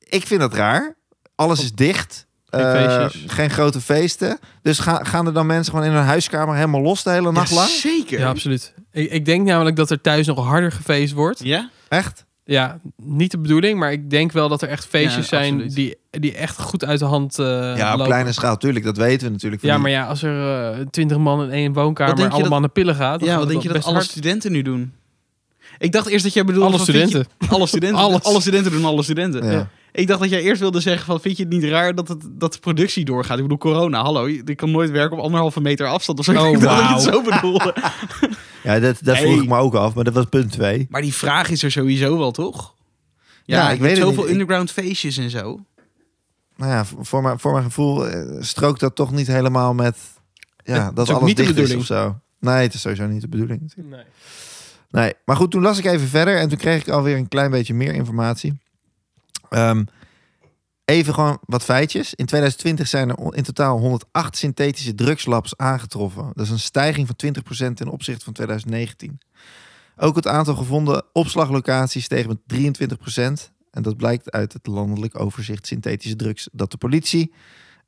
Speaker 1: Ik vind dat raar. Alles is dicht.
Speaker 3: Geen
Speaker 1: Eh,
Speaker 3: feestjes.
Speaker 1: geen grote feesten. Dus ga, gaan er dan mensen gewoon in hun huiskamer helemaal los de hele nacht lang?
Speaker 2: Zeker.
Speaker 3: Ja,
Speaker 2: Ja?
Speaker 3: absoluut. Ik, ik denk namelijk dat er thuis nog harder gefeest wordt.
Speaker 1: Echt?
Speaker 3: Ja, niet de bedoeling, maar ik denk wel dat er echt feestjes
Speaker 2: Ja,
Speaker 3: zijn
Speaker 2: absoluut.
Speaker 3: die, die echt goed uit de hand eh
Speaker 1: Ja, op
Speaker 3: lopen.
Speaker 1: kleine schaal, tuurlijk. Dat weten we natuurlijk. van
Speaker 3: Ja,
Speaker 1: die-
Speaker 3: maar ja, als er eh, twintig man in één woonkamer
Speaker 2: Wat denk je
Speaker 3: allemaal
Speaker 2: dat-
Speaker 3: naar pillen gaat... dan
Speaker 2: Ja,
Speaker 3: gaat
Speaker 2: wat denk
Speaker 3: het
Speaker 2: je
Speaker 3: wel
Speaker 2: dat alle
Speaker 3: best hard.
Speaker 2: studenten nu doen? Ik dacht eerst dat jij bedoelde...
Speaker 3: Alle
Speaker 2: van, vind je-
Speaker 3: studenten.
Speaker 2: alle studenten.
Speaker 3: Alles.
Speaker 2: Alle studenten doen alle studenten.
Speaker 1: Ja.
Speaker 3: Ja. eh,
Speaker 2: Ik dacht dat jij eerst wilde zeggen van vind je het niet raar dat, het, dat de productie doorgaat? Ik bedoel, corona, hallo. je- Ik kan nooit werken op anderhalve meter afstand of zo.
Speaker 3: Oh,
Speaker 2: ik dacht dat je het
Speaker 3: wauw.
Speaker 2: zo bedoelde.
Speaker 1: Ja, dat, dat
Speaker 2: Hey.
Speaker 1: vroeg ik me ook af, maar dat was punt twee.
Speaker 2: maar die vraag is er sowieso wel, toch?
Speaker 1: Ja, ik
Speaker 2: met
Speaker 1: weet het
Speaker 2: Zoveel
Speaker 1: niet.
Speaker 2: underground feestjes en zo.
Speaker 1: Nou ja, voor, voor mijn, voor mijn gevoel eh, strookt dat toch niet helemaal met ja,
Speaker 3: is
Speaker 1: dat
Speaker 3: ook
Speaker 1: alles
Speaker 3: niet de
Speaker 1: dicht is
Speaker 3: bedoeling.
Speaker 1: of zo. Nee, het is sowieso niet de bedoeling. natuurlijk.
Speaker 3: Nee.
Speaker 1: Nee, maar goed, toen las ik even verder en toen kreeg ik alweer een klein beetje meer informatie. Ehm, even gewoon wat feitjes. In 2020 zijn er in totaal 108 synthetische drugslabs aangetroffen. Dat is een stijging van 20% ten opzichte van 2019. Ook het aantal gevonden opslaglocaties steeg met 23%. En dat blijkt uit het landelijk overzicht synthetische drugs dat de politie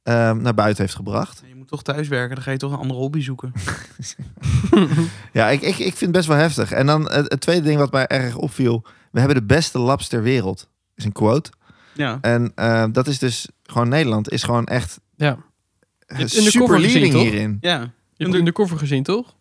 Speaker 1: ehm, naar buiten heeft gebracht.
Speaker 2: Je moet toch thuiswerken, dan ga je toch een andere hobby zoeken.
Speaker 1: Ja, ik, ik, ik vind het best wel heftig. En dan eh, het, het tweede ding wat mij erg opviel. We hebben de beste labs ter wereld. Is een quote.
Speaker 2: Ja.
Speaker 1: En eh, dat is dus gewoon Nederland. Is gewoon echt
Speaker 3: Ja.
Speaker 1: eh,
Speaker 3: hebt Undercover
Speaker 1: super
Speaker 3: gezien,
Speaker 1: leading
Speaker 3: toch?
Speaker 1: hierin.
Speaker 2: Ja.
Speaker 3: Je hebt de cover gezien, toch?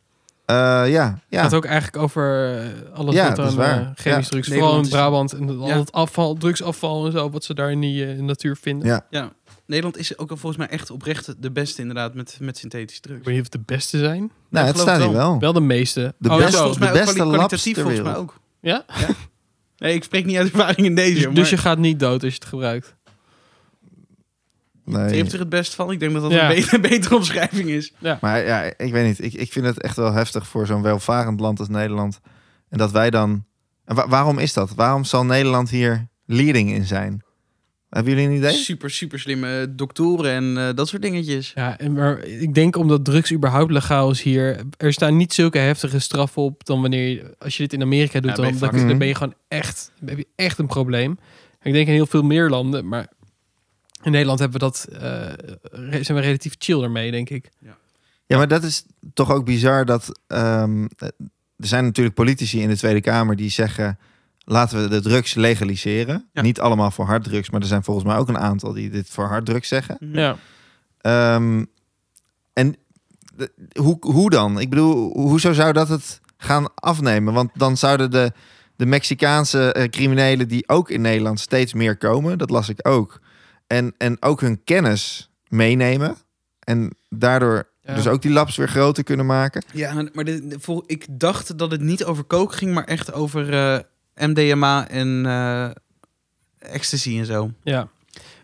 Speaker 1: Eh, ja,
Speaker 3: Het
Speaker 1: ja.
Speaker 3: gaat ook eigenlijk over eh, alles
Speaker 1: Ja,
Speaker 3: wat
Speaker 1: dat is
Speaker 3: aan eh,
Speaker 1: waar.
Speaker 3: chemisch
Speaker 1: Ja.
Speaker 3: drugs, vooral
Speaker 2: Nederland
Speaker 3: in
Speaker 2: is-
Speaker 3: Brabant. En al
Speaker 2: Ja.
Speaker 3: het afval, drugsafval en zo, wat ze daar in die eh, natuur vinden.
Speaker 1: Ja.
Speaker 2: Nederland is ook al volgens mij echt oprecht de beste inderdaad met, met synthetische
Speaker 3: Ik
Speaker 2: drugs.
Speaker 3: weet niet of het de beste zijn.
Speaker 1: Nou, het
Speaker 2: geloof
Speaker 1: staat
Speaker 2: ik
Speaker 1: hier wel.
Speaker 3: Wel de meeste.
Speaker 1: De
Speaker 3: Oh,
Speaker 1: beste-
Speaker 3: zo.
Speaker 2: volgens mij
Speaker 1: de
Speaker 2: ook
Speaker 1: beste
Speaker 2: kwali-
Speaker 1: labs
Speaker 2: kwalitatief
Speaker 1: ter
Speaker 2: volgens mij
Speaker 1: wereld.
Speaker 2: ook.
Speaker 3: Ja?
Speaker 2: Nee, ik spreek niet uit ervaring in deze.
Speaker 3: Dus,
Speaker 2: maar
Speaker 3: dus je gaat niet dood als je het gebruikt.
Speaker 2: je
Speaker 1: Nee.
Speaker 2: hebt er het best van. Ik denk dat dat
Speaker 3: Ja.
Speaker 2: een betere, betere omschrijving is.
Speaker 1: Maar ja, ik weet niet. Ik, ik vind het echt wel heftig voor zo'n welvarend land als Nederland. En dat wij dan... En wa- waarom is dat? Waarom zal Nederland hier leading in zijn? Hebben jullie een idee?
Speaker 2: Super, super slimme doktoren en eh, dat soort dingetjes.
Speaker 3: Ja, en maar ik denk omdat drugs überhaupt legaal is hier, er staan niet zulke heftige straffen op dan wanneer je, als je dit in Amerika doet,
Speaker 2: Ja, ben
Speaker 3: dan,
Speaker 2: je
Speaker 3: dan,
Speaker 1: fucked. Mhm.
Speaker 3: dan ben je gewoon echt, dan heb je echt een probleem. En ik denk in heel veel meer landen, maar In Nederland hebben we dat, eh, re- zijn we relatief chill ermee, denk ik.
Speaker 1: Ja, maar dat is toch ook bizar dat... ehm, eh, er zijn natuurlijk politici in de Tweede Kamer die zeggen... laten we de drugs legaliseren.
Speaker 2: Ja.
Speaker 1: Niet allemaal voor harddrugs, maar er zijn volgens mij ook een aantal... die dit voor harddrugs zeggen.
Speaker 3: Ja.
Speaker 1: Ehm, en de- hoe, hoe dan? Ik bedoel, hoezo zou dat het gaan afnemen? Want dan zouden de, de Mexicaanse eh, criminelen die ook in Nederland steeds meer komen, dat las ik ook, en, en ook hun kennis meenemen en daardoor
Speaker 3: Ja.
Speaker 1: dus ook die labs weer groter kunnen maken.
Speaker 2: Ja, maar dit- dit- vol- ik dacht dat het niet over kook ging, maar echt over eh, MDMA en eh, ecstasy en zo.
Speaker 3: ja.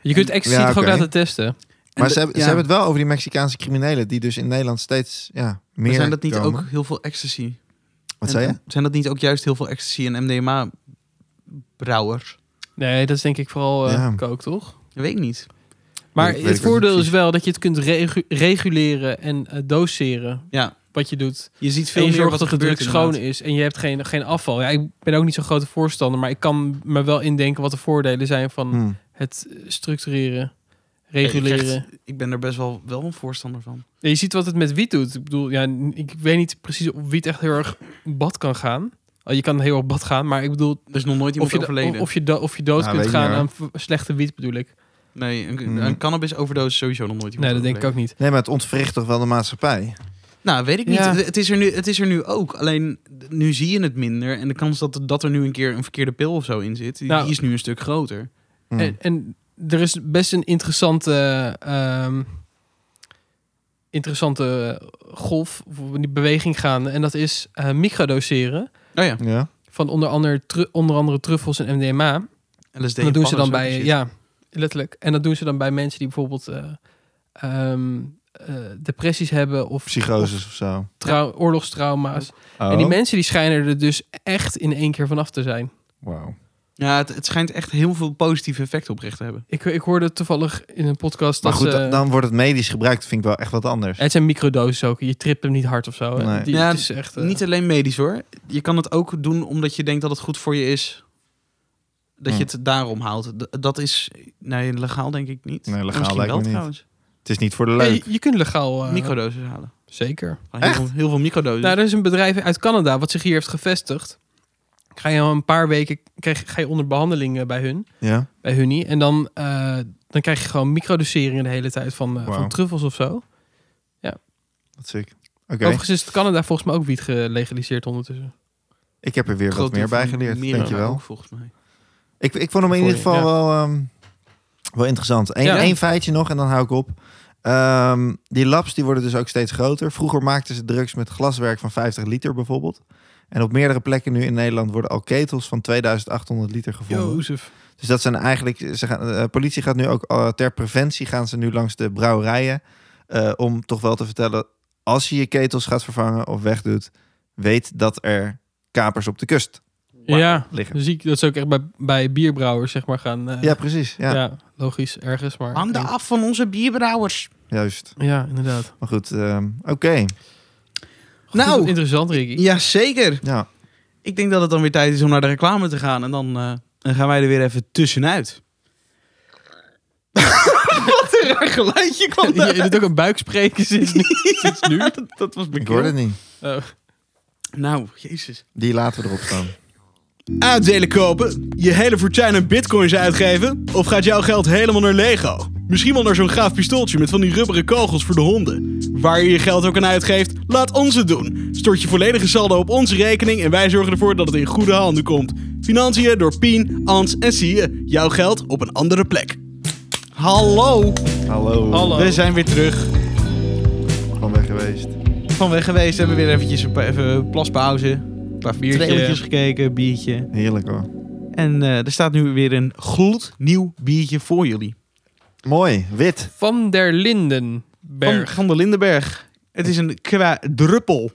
Speaker 3: Je kunt ecstasy
Speaker 1: Ja,
Speaker 3: toch ook
Speaker 1: oké.
Speaker 3: laten testen?
Speaker 1: Maar
Speaker 2: de-
Speaker 1: ze, hebben,
Speaker 2: ja.
Speaker 1: ze hebben het wel over die Mexicaanse criminelen die dus in Nederland steeds ja, meer
Speaker 2: Maar zijn dat niet
Speaker 1: komen.
Speaker 2: ook heel veel ecstasy?
Speaker 1: Wat
Speaker 2: En-
Speaker 1: zei je?
Speaker 2: Zijn dat niet ook juist heel veel ecstasy en MDMA-brouwers?
Speaker 3: Nee, dat is denk ik vooral eh
Speaker 1: Ja.
Speaker 3: kook, toch?
Speaker 2: Dat weet ik niet.
Speaker 3: Maar
Speaker 1: weet ik
Speaker 3: het
Speaker 1: ook niet
Speaker 3: voordeel is
Speaker 1: precies.
Speaker 3: wel dat je het kunt regu- reguleren en eh, doseren
Speaker 2: Ja,
Speaker 3: wat je doet.
Speaker 2: je ziet veel
Speaker 3: Veel je
Speaker 2: meer
Speaker 3: zorgt
Speaker 2: wat
Speaker 3: dat
Speaker 2: er
Speaker 3: de
Speaker 2: gebeurt
Speaker 3: druk schoon
Speaker 2: inderdaad.
Speaker 3: is en je hebt geen, geen afval. Ja, ik ben ook niet zo'n grote voorstander, maar ik kan me wel indenken wat de voordelen zijn van
Speaker 1: Hm.
Speaker 3: het eh, structureren,
Speaker 2: Ik,
Speaker 3: reguleren.
Speaker 2: krijg- ik ben er best wel, wel een voorstander van.
Speaker 3: Ja, je ziet wat het met wiet doet. Ik bedoel, ja, n- ik weet niet precies of wiet echt heel erg bad kan gaan. Oh, Je kan heel erg bad gaan, maar ik bedoel...
Speaker 2: Er is nog nooit iemand
Speaker 3: Of je,
Speaker 2: overleden.
Speaker 3: do- of, je do- of je dood
Speaker 1: Nou,
Speaker 3: kunt
Speaker 1: weet je
Speaker 3: gaan
Speaker 1: niet,
Speaker 3: aan v- slechte wiet, bedoel ik.
Speaker 2: nee, een,
Speaker 1: Mm.
Speaker 2: een cannabis-overdosis sowieso nog nooit iemand
Speaker 3: Nee, dat denk ik ook
Speaker 2: overleden.
Speaker 3: niet.
Speaker 1: Nee, maar het ontwricht toch wel de maatschappij?
Speaker 2: Nou, weet ik niet.
Speaker 3: Ja.
Speaker 2: Het, is er nu, het is er nu ook. Alleen, d- nu zie je het minder. En de kans dat, dat er nu een keer een verkeerde pil of zo in zit... die-
Speaker 3: Nou.
Speaker 2: die is nu een stuk groter.
Speaker 1: Hm.
Speaker 3: En, en er is best een interessante, ehm, interessante eh, golf, of die beweging gaande. En dat is eh, microdoseren
Speaker 2: Oh ja,
Speaker 1: Ja.
Speaker 3: van onder andere, tru- onder andere truffels en MDMA.
Speaker 2: LSD.
Speaker 3: En dat doen ze
Speaker 2: paddenzout
Speaker 3: dan
Speaker 2: en
Speaker 3: bij,
Speaker 2: shit.
Speaker 3: ja, letterlijk. En dat doen ze dan bij mensen die bijvoorbeeld eh, ehm, eh, depressies hebben of, of
Speaker 1: Psychoses of zo.
Speaker 3: trau- oorlogstrauma's.
Speaker 1: Oh.
Speaker 3: En die mensen die schijnen er dus echt in één keer vanaf te zijn.
Speaker 1: Wauw.
Speaker 2: Ja, het, het schijnt echt heel veel positieve effecten oprecht te hebben.
Speaker 3: Ik, ik hoorde toevallig in een podcast
Speaker 1: Dus, Maar
Speaker 3: dat
Speaker 1: goed, dan-
Speaker 3: ze-
Speaker 1: dan wordt het medisch gebruikt, vind ik wel echt wat anders.
Speaker 3: het zijn microdoses ook. Je tript hem niet hard of zo. hè.
Speaker 1: Nee.
Speaker 3: Die,
Speaker 2: Ja,
Speaker 3: het is echt, eh,
Speaker 2: Niet alleen medisch hoor. Je kan het ook doen omdat je denkt dat het goed voor je is. Dat
Speaker 1: Hm.
Speaker 2: je het daarom haalt. D- dat is, nee, legaal denk ik niet.
Speaker 1: Nee, legaal
Speaker 2: Misschien
Speaker 1: lijkt
Speaker 2: wel
Speaker 1: me niet.
Speaker 2: trouwens.
Speaker 1: Het is niet voor de
Speaker 3: Ja,
Speaker 1: leuk.
Speaker 3: je, je kunt legaal... eh,
Speaker 2: Microdoses halen.
Speaker 3: Zeker.
Speaker 2: Heel, veel- heel veel microdoses.
Speaker 3: Nou, er is een bedrijf uit Canada wat zich hier heeft gevestigd. Ga je al een paar weken krijg, ga je onder behandeling eh, bij hun.
Speaker 1: Ja.
Speaker 3: bij Hunnie. En dan, eh, dan krijg je gewoon microdoseringen de hele tijd van, eh,
Speaker 1: Wauw.
Speaker 3: van truffels of zo.
Speaker 1: Dat zie ik. Oké,
Speaker 3: Overigens is het Canada volgens mij ook wiet gelegaliseerd ondertussen.
Speaker 1: ik heb er weer
Speaker 2: Groot
Speaker 1: wat meer
Speaker 2: deel
Speaker 1: bij
Speaker 2: van
Speaker 1: geleerd,
Speaker 2: Mira
Speaker 1: denk je wel.
Speaker 2: ook, volgens mij.
Speaker 1: Ik, ik vond hem in
Speaker 3: Voor
Speaker 1: ieder
Speaker 3: je,
Speaker 1: geval
Speaker 3: ja.
Speaker 1: wel, ehm, wel interessant. Eén
Speaker 3: Ja.
Speaker 1: één feitje nog en dan hou ik op. Ehm, die labs die worden dus ook steeds groter. Vroeger maakten ze drugs met glaswerk van 50 liter bijvoorbeeld. En op meerdere plekken nu in Nederland worden al ketels van 2800 liter gevonden.
Speaker 3: Jozef.
Speaker 1: Dus dat zijn eigenlijk, ze gaan, eh, politie gaat nu ook eh, ter preventie gaan ze nu langs de brouwerijen eh, om toch wel te vertellen als je je ketels gaat vervangen of wegdoet, weet dat er kapers op de kust
Speaker 3: Ja,
Speaker 1: liggen.
Speaker 3: ziek. Dat ze ook echt bij, bij bierbrouwers zeg maar gaan. eh,
Speaker 1: Ja, precies. Ja,
Speaker 3: ja. logisch ergens. Maar,
Speaker 2: Handen af van onze bierbrouwers.
Speaker 1: juist.
Speaker 3: Ja, inderdaad.
Speaker 1: Maar goed, ehm, oké.
Speaker 3: Goed,
Speaker 2: Nou.
Speaker 3: Interessant, Ricky.
Speaker 2: Jazeker.
Speaker 1: Ja,
Speaker 2: Ik denk dat het dan weer tijd is om naar de reclame te gaan. En dan, eh, dan gaan wij er weer even tussenuit. Wat een raar geluidje kwam
Speaker 3: Je,
Speaker 2: daar.
Speaker 3: je doet ook een buikspreken sinds nu. Sinds nu.
Speaker 2: Dat, dat was
Speaker 1: ik hoorde het
Speaker 2: bekend.
Speaker 1: niet.
Speaker 3: Oh.
Speaker 2: Nou, jezus.
Speaker 1: Die laten we erop staan.
Speaker 2: Aandelen kopen, je hele fortuin aan bitcoins uitgeven... of gaat jouw geld helemaal naar Lego? Misschien wel naar zo'n gaaf pistooltje met van die rubberen kogels voor de honden. Waar je je geld ook aan uitgeeft, laat ons het doen. Stort je volledige saldo op onze rekening en wij zorgen ervoor dat het in goede handen komt. Financiën door Pien, Ans en Sieën. Jouw geld op een andere plek. Hallo,
Speaker 1: Hallo.
Speaker 3: Hallo.
Speaker 2: we zijn weer terug.
Speaker 1: Van weg geweest.
Speaker 2: Van weg geweest, hebben we weer eventjes een pa- even plaspauze. Een paar
Speaker 3: Biertje.
Speaker 2: trailertjes gekeken, biertje.
Speaker 1: Heerlijk hoor.
Speaker 2: En eh, er staat nu weer een gloednieuw biertje voor jullie.
Speaker 1: Mooi, wit.
Speaker 3: Van der Lindenberg.
Speaker 2: Van, van de Lindenberg. Het is een kwadruppel.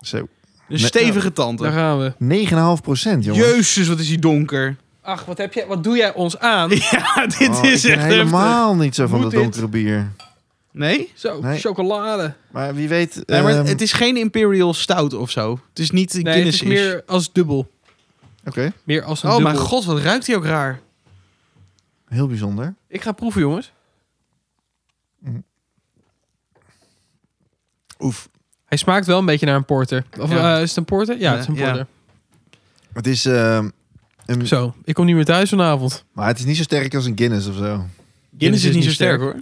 Speaker 1: Zo. 9,5
Speaker 2: Een stevige tante.
Speaker 3: Daar gaan we.
Speaker 1: procent, jongen.
Speaker 2: Jezus, wat is die donker.
Speaker 3: Ach, wat, heb jij, wat doe jij ons aan?
Speaker 2: Ja, dit
Speaker 1: Oh, ik
Speaker 2: is
Speaker 1: ben
Speaker 2: echt heftig.
Speaker 1: helemaal niet zo van
Speaker 3: Moet
Speaker 1: dat donkere bier.
Speaker 2: Nee?
Speaker 3: Zo,
Speaker 1: Nee.
Speaker 3: chocolade.
Speaker 1: Maar wie weet...
Speaker 2: Nee, maar
Speaker 1: ehm,
Speaker 2: het is geen Imperial Stout of zo. Het is niet een
Speaker 3: Nee, het
Speaker 2: Guinness.
Speaker 3: is meer als dubbel.
Speaker 1: Oké,
Speaker 3: Meer als een
Speaker 2: Oh
Speaker 3: dubbel.
Speaker 2: mijn god, wat ruikt die ook raar.
Speaker 1: heel bijzonder.
Speaker 3: Ik ga proeven, jongens.
Speaker 2: Mm.
Speaker 1: Oef.
Speaker 3: Hij smaakt wel een beetje naar een porter. Of
Speaker 2: Ja.
Speaker 3: eh, is het een porter? Ja,
Speaker 2: Ja,
Speaker 3: het is een
Speaker 2: ja.
Speaker 3: porter.
Speaker 1: Het is, ehm, een,
Speaker 3: Zo, ik kom niet meer thuis vanavond.
Speaker 1: maar het is niet zo sterk als een Guinness of zo.
Speaker 2: Guinness is niet zo sterk hoor.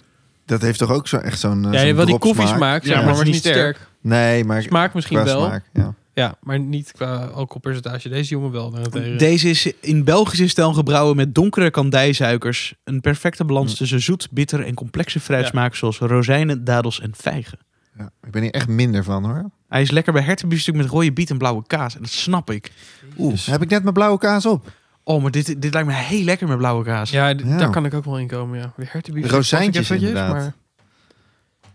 Speaker 1: Dat heeft toch ook zo, echt zo'n. eh,
Speaker 3: Ja, je
Speaker 1: zo'n
Speaker 3: hebt wel die
Speaker 1: dropsmaak?
Speaker 3: koffiesmaak, zeg
Speaker 2: Ja,
Speaker 3: maar, maar het is niet sterk.
Speaker 1: Nee, maar
Speaker 3: Smaak misschien
Speaker 1: qua
Speaker 3: wel.
Speaker 1: smaak, ja.
Speaker 3: Ja, maar niet qua alcoholpercentage. Deze jongen wel. daarentegen.
Speaker 2: Oh, Deze is in Belgische stijl gebrouwen met donkere kandijsuikers. Een perfecte balans tussen zoet, bitter en complexe fruitsmaak zoals rozijnen, dadels en vijgen.
Speaker 1: Ja, Ik ben hier echt minder van hoor.
Speaker 2: Hij is lekker bij hertenbiefstuk met rode biet en blauwe kaas. En dat snap ik.
Speaker 1: Oeh, heb ik net mijn blauwe kaas op.
Speaker 2: Oh, maar dit, dit lijkt me heel lekker met blauwe kaas.
Speaker 3: Ja, d-
Speaker 1: Ja.
Speaker 3: daar kan ik ook wel in komen, ja. De hertenbief.
Speaker 1: Rozijntjes
Speaker 3: pas ik eventjes,
Speaker 1: inderdaad.
Speaker 3: Maar...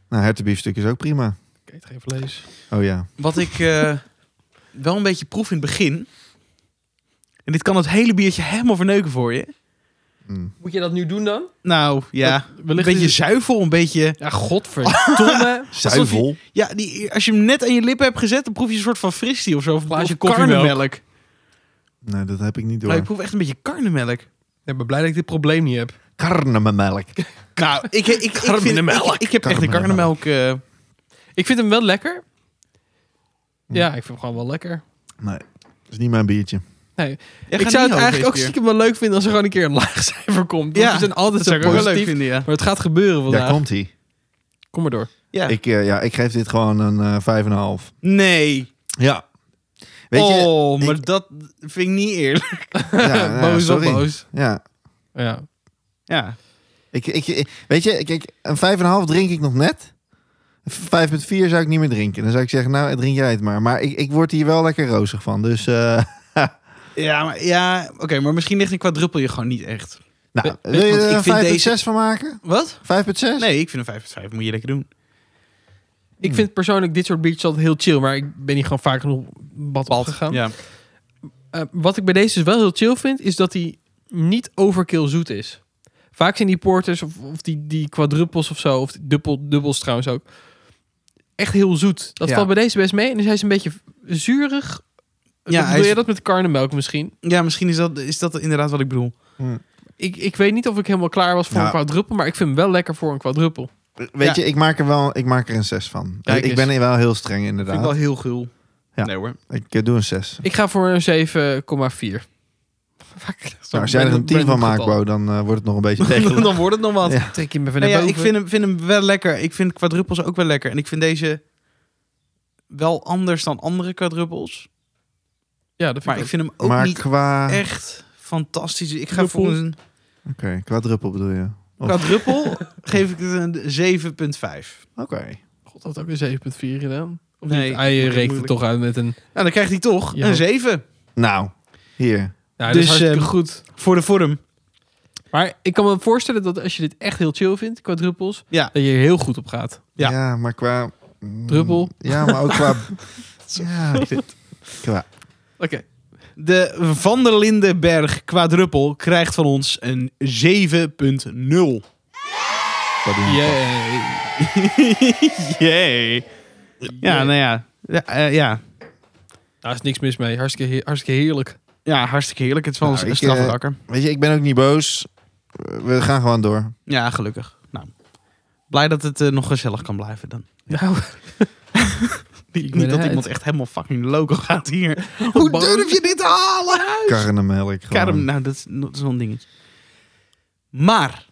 Speaker 1: Nou, hertenbiefstuk is ook prima.
Speaker 3: Ik eet geen vlees.
Speaker 1: Oh ja.
Speaker 2: Wat ik eh, wel een beetje proef in het begin. En dit kan het hele biertje helemaal verneuken voor je.
Speaker 1: Mm.
Speaker 3: Moet je dat nu doen dan?
Speaker 2: Nou ja, een
Speaker 3: wellicht
Speaker 2: beetje
Speaker 3: is-
Speaker 2: zuivel, een beetje.
Speaker 3: Ja, godverdomme.
Speaker 1: Zuivel.
Speaker 2: Ja, die, als je hem net aan je lippen hebt gezet, dan proef je een soort van fristie of zo. Of een
Speaker 3: Glaasje
Speaker 2: of
Speaker 3: koffiemelk.
Speaker 2: karnemelk.
Speaker 1: Nee, dat heb ik niet door.
Speaker 2: Nou, ik proef echt een beetje karnemelk.
Speaker 3: Ik ben blij dat ik dit probleem niet heb.
Speaker 1: Karnemelk.
Speaker 2: Nou, ik, ik, ik, ik, vind, ik,
Speaker 3: Karnemelk.
Speaker 2: ik heb echt een
Speaker 1: Karnemelk.
Speaker 2: karnemelk. eh,
Speaker 3: Ik vind hem wel lekker.
Speaker 1: Hm.
Speaker 3: Ja, ik vind hem gewoon wel lekker.
Speaker 1: Nee, dat is niet mijn biertje.
Speaker 2: ja,
Speaker 3: ik
Speaker 2: ga
Speaker 3: zou
Speaker 2: niet
Speaker 3: het
Speaker 2: over
Speaker 3: eigenlijk ook
Speaker 2: deze keer.
Speaker 3: stiekem wel leuk vinden als er gewoon een keer een laag cijfer komt. Ja,
Speaker 2: Ja,
Speaker 3: ze zijn altijd
Speaker 2: Dat
Speaker 3: zo
Speaker 2: zou ik ook wel leuk
Speaker 3: positief.
Speaker 2: vinden, ja.
Speaker 3: Maar het gaat gebeuren vandaag.
Speaker 1: Daar komt hij.
Speaker 3: Kom maar door.
Speaker 2: ja.
Speaker 1: Ik, eh, ja, ik geef dit gewoon een eh 5,5.
Speaker 2: Nee.
Speaker 1: Ja. Weet je?
Speaker 2: oh, maar
Speaker 1: ik-
Speaker 2: dat vind ik niet eerlijk.
Speaker 1: Ja, nou,
Speaker 3: boos is wel
Speaker 1: sorry.
Speaker 3: boos.
Speaker 1: Ja.
Speaker 3: Ja.
Speaker 2: Ja.
Speaker 1: Ik, ik, ik- weet je, kijk, een 5,5 drink ik nog net. 5,4 zou ik niet meer drinken. Dan zou ik zeggen, nou, drink jij het maar. Maar ik, ik word hier wel lekker rozig van. Dus, eh,
Speaker 2: Ja, maar, ja oké, maar misschien ligt een quadruppel je gewoon niet echt.
Speaker 1: nou,
Speaker 2: we-
Speaker 1: wil je
Speaker 2: want Eh, ik
Speaker 1: er een 5,6
Speaker 2: vind
Speaker 1: van maken?
Speaker 2: Wat?
Speaker 1: 5,6?
Speaker 2: Nee, ik vind een 5 uit 5 moet je lekker doen.
Speaker 3: Ik vind persoonlijk dit soort biertjes altijd heel chill. Maar ik ben hier gewoon vaak genoeg bad op gegaan.
Speaker 2: Ja.
Speaker 3: Eh, wat ik bij deze dus wel heel chill vind, is dat hij niet overkill zoet is. Vaak zijn die porters of, of die, die quadruppels of zo, of die dubbel, dubbels trouwens ook, echt heel zoet. Dat
Speaker 2: Ja.
Speaker 3: valt bij deze best mee. En dus hij is een beetje zuurig.
Speaker 2: Ja,
Speaker 3: Ja,
Speaker 2: hij
Speaker 3: Wil
Speaker 2: is-
Speaker 3: je dat met karnemelk misschien?
Speaker 2: ja, misschien is dat, is dat inderdaad wat ik bedoel.
Speaker 3: Ik, ik weet niet of ik helemaal klaar was voor
Speaker 1: Nou.
Speaker 3: een quadruppel, maar ik vind hem wel lekker voor een quadruppel.
Speaker 1: Weet je, ik maak er wel ik maak er een 6 van.
Speaker 3: Kijk
Speaker 1: ik
Speaker 3: eens.
Speaker 1: ben hier wel heel streng,
Speaker 2: Vind ik
Speaker 1: inderdaad.
Speaker 2: wel heel gul.
Speaker 1: Ja.
Speaker 2: Nee hoor.
Speaker 1: Ik eh, doe een 6.
Speaker 3: Ik ga voor een 7,4.
Speaker 1: Nou, als jij er een 10 van maakt, Bo, dan eh, wordt het nog een beetje
Speaker 2: Dan,
Speaker 1: regelen.
Speaker 2: dan wordt het nog wat.
Speaker 1: Ja.
Speaker 3: Trek je me even
Speaker 2: Nee, Nou ja,
Speaker 3: naar
Speaker 2: ik
Speaker 3: boven.
Speaker 2: vind hem, vind hem wel lekker. Ik vind quadruppels ook wel lekker. En ik vind deze wel anders dan andere quadruppels.
Speaker 3: ja, dat vind
Speaker 2: Maar
Speaker 3: ik
Speaker 2: ik
Speaker 3: ook.
Speaker 2: vind hem ook
Speaker 1: Maar
Speaker 2: niet
Speaker 1: qua... Oké,
Speaker 2: echt fantastisch. Ik ga
Speaker 3: Druppel.
Speaker 2: voor een
Speaker 1: qua druppel bedoel je?
Speaker 3: Oh.
Speaker 1: Of-
Speaker 2: quadruppel geef ik het een 7,5.
Speaker 1: Oké.
Speaker 3: God, had ook een 7,4 gedaan. Of
Speaker 2: Nee,
Speaker 3: niet? Hij eh,
Speaker 2: dat is
Speaker 3: rekent het
Speaker 2: moeilijk.
Speaker 3: toch uit met een...
Speaker 2: Nou, dan krijgt hij toch
Speaker 3: Ja.
Speaker 2: een 7
Speaker 1: Nou, hier.
Speaker 3: Ja,
Speaker 2: Dus,
Speaker 3: dus, hartstikke
Speaker 2: ehm,
Speaker 3: goed.
Speaker 2: voor de vorm.
Speaker 3: Maar ik kan me voorstellen dat als je dit echt heel chill vindt, qua druppels,
Speaker 2: Ja.
Speaker 3: dat je er heel goed op gaat.
Speaker 2: Ja.
Speaker 1: Ja, maar qua... mm,
Speaker 3: Druppel.
Speaker 1: Ja, maar ook qua... ja, ik vind- qua...
Speaker 3: Oké.
Speaker 2: De Van der Lindenberg quadruppel krijgt van ons een 7,0.
Speaker 1: qua doen.
Speaker 3: Yeah.
Speaker 2: Jee. Ja, nou ja. Ja, eh, ja.
Speaker 3: Daar is niks mis mee. Hartstikke, heer- hartstikke heerlijk.
Speaker 2: ja, hartstikke heerlijk. Het is wel
Speaker 1: Nou,
Speaker 2: een- een
Speaker 1: ik,
Speaker 2: straffe
Speaker 1: eh,
Speaker 2: rakker.
Speaker 1: Weet je, ik ben ook niet boos. We gaan gewoon door.
Speaker 2: Ja, gelukkig. Nou, blij dat het eh, nog gezellig kan blijven dan.
Speaker 3: Nou,
Speaker 2: Niet dat iemand echt helemaal fucking loco gaat hier. Hoe
Speaker 3: Boos.
Speaker 2: durf je dit te halen?
Speaker 1: Karnemelk gewoon.
Speaker 2: Karim, nou, dat is, dat is wel een dingetje. Maar,